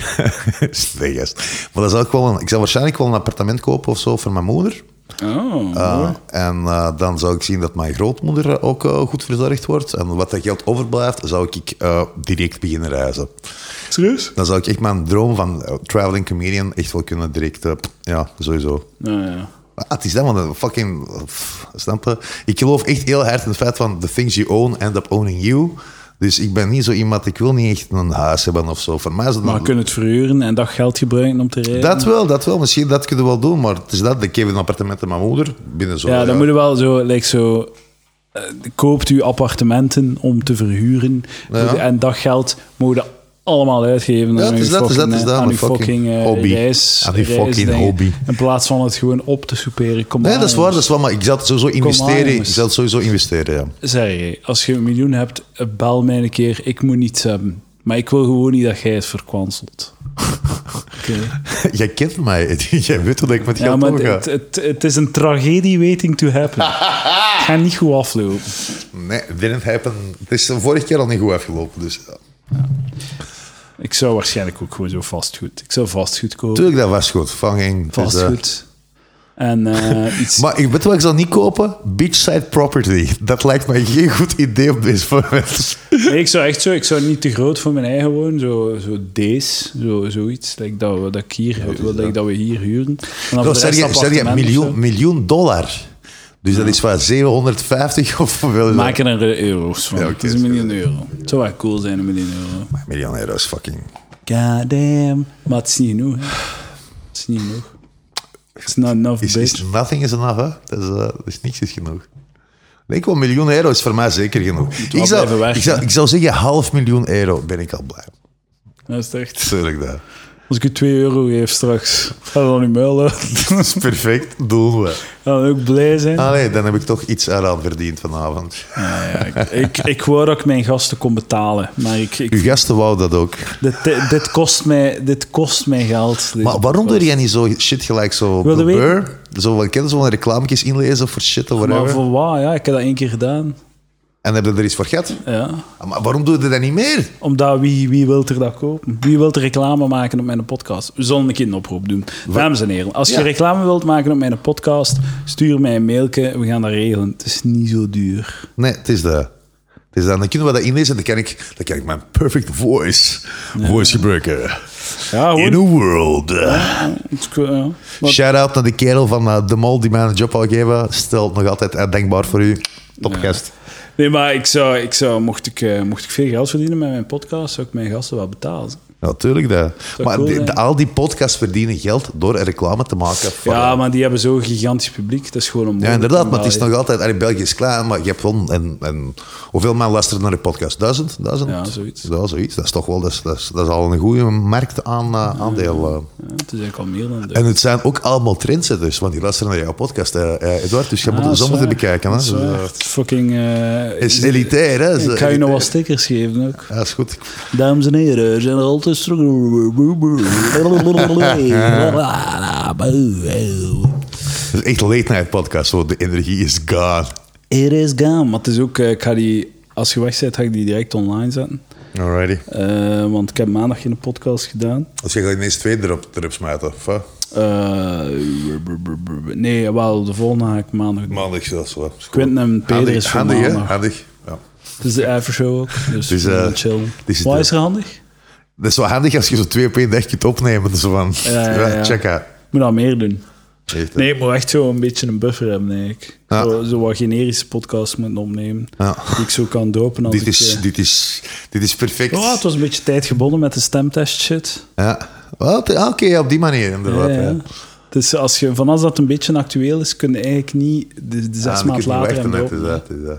A: nee, gast. Maar dat zou ik, wel een- ik zou waarschijnlijk wel een appartement kopen of zo voor mijn moeder.
B: Oh,
A: Uh, en eh, dan zou ik zien dat mijn grootmoeder eh, ook eh, goed verzorgd wordt. En wat dat geld overblijft, zou ik eh, direct beginnen reizen.
B: serieus?
A: Dan zou ik echt mijn droom van eh, traveling comedian echt wel kunnen direct... eh, ja, sowieso.
B: Nou ja.
A: Maar het is dat, want een fucking... pff, snap je? Ik geloof echt heel hard in het feit van... The things you own end up owning you. Dus ik ben niet zo iemand... Ik wil niet echt een huis hebben of zo. Voor mij is dat
B: Maar
A: een-
B: we kunnen het verhuren en dat geld gebruiken om te rijden.
A: Dat wel, dat wel. Misschien dat kunnen we wel doen. Maar het is dat. Ik geef een appartement aan mijn moeder. Binnen zo...
B: ja, dan
A: ja.
B: moet je wel zo, like zo eh, koopt u appartementen om te verhuren
A: Ja.
B: en dat geld mogen we allemaal uitgeven
A: Ja,
B: aan
A: het is
B: uw
A: dat, het is dat, het is
B: fucking,
A: dat,
B: eh, aan
A: mijn
B: uw fucking
A: fucking
B: eh,
A: hobby.
B: reis,
A: Aan uw fucking
B: reisdingen.
A: hobby.
B: In plaats van het gewoon op te soeperen. Kom
A: Nee,
B: aan,
A: dat is waar,
B: jongens.
A: dat is waar. Maar ik zou het sowieso investeren. ik
B: jongens.
A: zou het sowieso investeren, ja.
B: Zeg je, als je een miljoen hebt, eh, bel mij een keer. Ik moet niets hebben. Maar ik wil gewoon niet dat jij het verkwanselt. Oké.
A: Jij kent mij. Jij weet hoe ik met
B: Ja,
A: geld
B: maar
A: omga.
B: het, het, het is een tragedie waiting to happen. Het gaat niet goed aflopen.
A: Nee, didn't happen. Het is de vorige keer al niet goed afgelopen. Dus ja.
B: Ik zou waarschijnlijk ook gewoon zo vastgoed. Ik zou vastgoed kopen.
A: tuurlijk, dat was goed. Fucking... het is, eh,
B: vastgoed. En eh, iets.
A: maar ik weet wel, ik zal niet kopen. Beachside property. Dat lijkt mij geen goed idee op dit moment.
B: Nee, ik zou echt zo, ik zou niet te groot voor mijn eigen wonen. Zo, zo deze, zo, zoiets. Like dat, we, dat, ik hier, dat, ik- dat we hier huren. En dan
A: Nou,
B: voor de
A: dus zeg
B: rest
A: je, zeg je
B: appartementen of
A: miljoen,
B: zo.
A: miljoen dollar. Dus dat is wat 750 of hoeveel is dat?
B: Maak er een euro's van.
A: Ja, oké.
B: Het is een miljoen euro. Het zou wel cool zijn, een miljoen euro.
A: Miljoen euro's, fucking.
B: God damn. Maar het is niet genoeg. hè. Het is niet genoeg. It's not enough,
A: Is,
B: bitch.
A: is nothing is enough, hè? Dat is, eh, dat is niks is genoeg. Ik denk wel, een miljoen euro is voor mij zeker genoeg.
B: wel
A: Ik zou,
B: blijven werken.
A: ik, zou, ik zou zeggen, half miljoen euro ben ik al blij.
B: Dat is echt...
A: Tuurlijk dat.
B: Als ik u 2 euro geef straks, ga dan niet muil uit. Dan
A: Dat is perfect, doen we.
B: gaan we ook blij zijn.
A: Allee, dan heb ik toch iets eraan verdiend vanavond.
B: Ja, ja, ik, ik, ik wou dat ik mijn gasten kon betalen, maar ik, ik,
A: Uw gasten wou dat ook.
B: dit, dit, dit kost mij, dit kost mij geld. Dit-
A: Maar waarom doe jij niet zo shit gelijk zo
B: Wil je
A: Bill Burr? Zo, wat kennen ze wel reclametjes inlezen voor shit of
B: maar
A: whatever.
B: voor wat? Ja, ik heb dat één keer gedaan.
A: En heb je er iets voor gehad? Ah,
B: Ja.
A: Maar waarom doe je dat niet meer?
B: Omdat wie, wie wil er dat kopen? Wie wil er reclame maken op mijn podcast? We zullen een keer een oproep doen. Dames en heren, als
A: Ja.
B: je reclame wilt maken op mijn podcast, stuur mij een mailtje. We gaan dat regelen. Het is niet zo duur.
A: Nee, het is dat. Het is dat. Dan kunnen we dat inlezen en dan kan ik, dan kan ik mijn perfect voice, voice gebruiken.
B: Ja,
A: In a world. Shout out naar de kerel van eh, De Mol die mij een job wou geven. Stel nog altijd eh, dankbaar voor u. Topgast.
B: Nee, maar ik zou, ik zou, mocht, ik, eh, mocht ik veel geld verdienen met mijn podcast, zou ik mijn gasten wel betalen.
A: Natuurlijk dat. Maar
B: cool
A: die-
B: zijn.
A: de- al die podcasts verdienen geld door er reclame te maken. Voor,
B: Ja, maar die hebben zo'n gigantisch publiek. Dat is gewoon een
A: Ja, inderdaad, maar het is
B: nou
A: nog altijd. allee, België is klein, maar je hebt wel. En, en, hoeveel man luistert naar de podcast? Duizend? Duizend?
B: Ja, zoiets.
A: Ja, zoiets. Dat is toch wel. Dat is, dat is, dat is al een goede markt aan, eh, aandeel. eh.
B: Ja, het is eigenlijk al meer dan dat.
A: En het zijn ook allemaal trendsetters, want die luisteren naar jouw podcast, eh eh, Eduard. Dus je moet
B: Ah,
A: het zo
B: dat
A: moeten
B: is waar.
A: bekijken. Hè?
B: Dat is
A: Dus,
B: waar.
A: eh,
B: Fucking... eh,
A: is elitair, hè? Is,
B: ik ga je
A: eh,
B: nog wat stickers geven ook.
A: Ja, is goed.
B: Dames en heren, we zijn er altijd terug.
A: Het is echt late night podcast, hoor. de energie is gone.
B: It is gone. Maar het is ook... eh, Ik ga die... Als je weg bent, ga ik die direct online zetten.
A: Alrighty.
B: Eh, want ik heb maandag geen podcast gedaan.
A: Als Dus je gaat ineens twee erop, erop smijten, of wat?
B: Eh, nee, wel, de volgende ga ik maandag doen.
A: Maandag, dat is wel.
B: Quinten en Peter
A: Handig,
B: is voor
A: handig, hè?
B: maandag.
A: Handig. Ja.
B: Het is de aftershow ook, dus,
A: Dus,
B: dus
A: eh,
B: chill.
A: dit is
B: Wat
A: de-
B: is er handig?
A: Dat is wel handig als je zo twee op één dag kunt opnemen. Dus van,
B: Ja, ja, ja.
A: check out.
B: Ik moet dat meer doen.
A: Echt, hè?
B: Nee, ik moet echt zo een beetje een buffer hebben eigenlijk.
A: Ja.
B: Zo, zo wat generische podcasts moeten opnemen,
A: Ja.
B: die ik zo kan droppen als
A: Dit
B: ik...
A: is,
B: eh,
A: dit, is, dit is perfect.
B: Oh, het was een beetje tijd gebonden met de stemtest shit.
A: Ja. Wat? Ah, Oké, ja, op die manier inderdaad.
B: Ja, ja.
A: ja.
B: Dus als je, van als dat een beetje actueel is, kun je eigenlijk niet de, de
A: Ja,
B: zes
A: dan kun
B: maanden
A: je niet wachten,
B: later hem
A: hè. Het
B: droppen.
A: is dat, het is dat.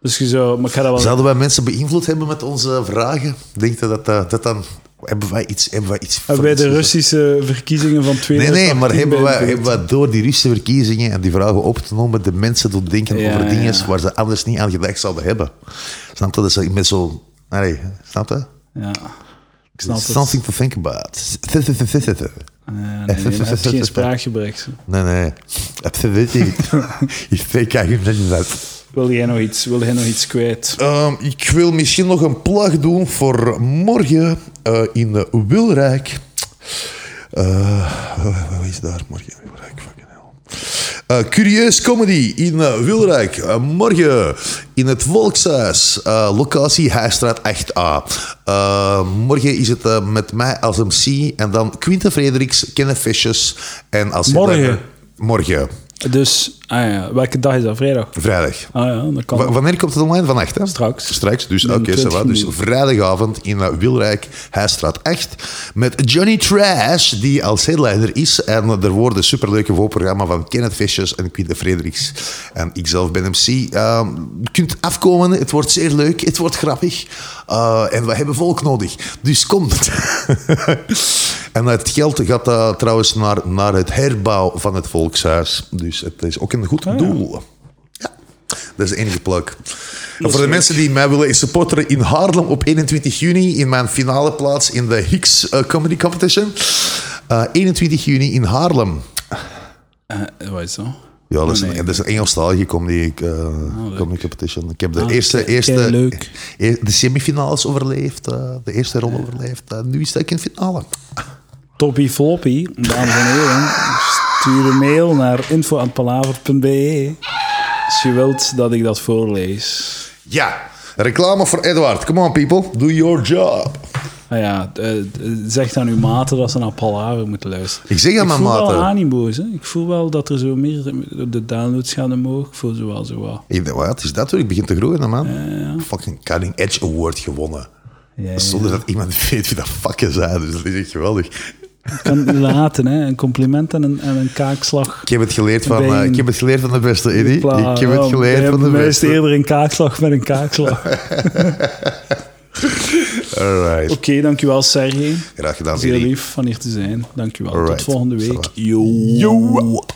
B: Dus je zou... Maar ik ga dat wel...
A: Zouden wij mensen beïnvloed hebben met onze vragen? Denk je dat, eh, dat, dat dan... Hebben wij iets... Hebben wij iets
B: Hebben wij de
A: iets-
B: Russische verkiezingen van 2018
A: Nee, nee, maar hebben wij,
B: beïnvloed?
A: hebben wij door die Russische verkiezingen en die vragen op te nemen de mensen doen denken
B: Ja,
A: over dingen
B: ja.
A: waar ze anders niet aan gedacht zouden hebben? Snap je? Dat is met zo'n... Nee, snap je?
B: Ja. Ik snap het.
A: Something to think about.
B: Ja, nee, nee, dan heb je geen spraakgebrek. zo.
A: Nee, nee. Absoluut niet. Ik fake eigenlijk niet dat.
B: Wil jij nog iets, wil jij nog iets kwijt?
A: Ehm, ik wil misschien nog een plag doen voor morgen eh, in eh, Wilrijk. Eh, eh, wat is daar morgen in Wilrijk? Fucking hell. Eh, Curieus Comedy in eh, Wilrijk. Eh, morgen in het Volkshuis. Eh, locatie Heijstraat 8a. Eh, morgen is het eh, met mij als MC. En dan Quinten Frederiks, Kenneth Fisches. En als je dan-
B: Morgen?
A: morgen,
B: Dus, ah ja, welke dag is dat? Vrijdag?
A: vrijdag.
B: Ah ja, dat kan.
A: Wa- wanneer komt het online? Vannacht, hè?
B: Straks.
A: Straks, dus oké,
B: Binnen
A: ça va.
B: 20
A: Dus
B: minuten.
A: vrijdagavond in eh, Wilrijk, Huisstraat 8, met Johnny Trash, die als headliner is. En eh, er wordt een superleuke voorprogramma van Kenneth Visjes en Quinte Frederiks. En ikzelf ben MC. Ehm, je kunt afkomen, het wordt zeer leuk, het wordt grappig. Eh, en we hebben volk nodig, dus komt. en het geld gaat eh, trouwens naar, naar het herbouw van het Volkshuis. Dus het is ook een goed
B: Ah,
A: doel. Dat is de enige plug. En voor de mensen die mij willen supporteren in Haarlem op 21 juni in mijn finale plaats in de Hicks eh, Comedy Competition. Eh, 21 juni in Haarlem.
B: Eh, wat is dat?
A: Ja, dat is,
B: Oh,
A: een,
B: nee. Oh,
A: dat is een Engelstalige comedy, eh, comedy competition. Ik heb de eerste,
B: kei-
A: eerste
B: kei Ah, leuk.
A: e- de semifinales overleefd, eh, de eerste ronde overleefd. Eh, nu is het in de finale.
B: Toppie Floppy, dames en heren. Stuur een mail naar info.palaver.be als je wilt dat ik dat voorlees.
A: Ja, reclame voor Edward. Come on people, do your job.
B: Nou ja, eh, eh, zeg aan uw maten dat ze naar Palaver moeten luisteren.
A: Ik zeg aan
B: ik
A: mijn
B: voel wel
A: maten.
B: animo's. Hè. Ik voel wel dat er zo meer de downloads gaan omhoog. Ik voel zo wel, zo wel.
A: Ik dacht, wat is dat hoor? Ik begin te groeien, hè, man. Fucking Cutting Edge Award gewonnen.
B: Ja, ja.
A: Zonder dat iemand weet wie dat fucking zijn. Dus dat is echt geweldig.
B: Ik kan het niet laten, hè. Een compliment en een, en een kaakslag.
A: Ik heb het geleerd van,
B: Ben-
A: eh, ik heb het geleerd van de beste, Eddie.
B: Pla-
A: Ik heb het
B: ja,
A: geleerd
B: jij
A: van de
B: hebt meest
A: beste.
B: eerder een kaakslag met een kaakslag. Oké,
A: Alright.
B: dankjewel Sergej.
A: Graag gedaan,
B: Zeer
A: Eddie.
B: lief van hier te zijn. Dankjewel.
A: Alright.
B: Tot volgende week.
A: Yo.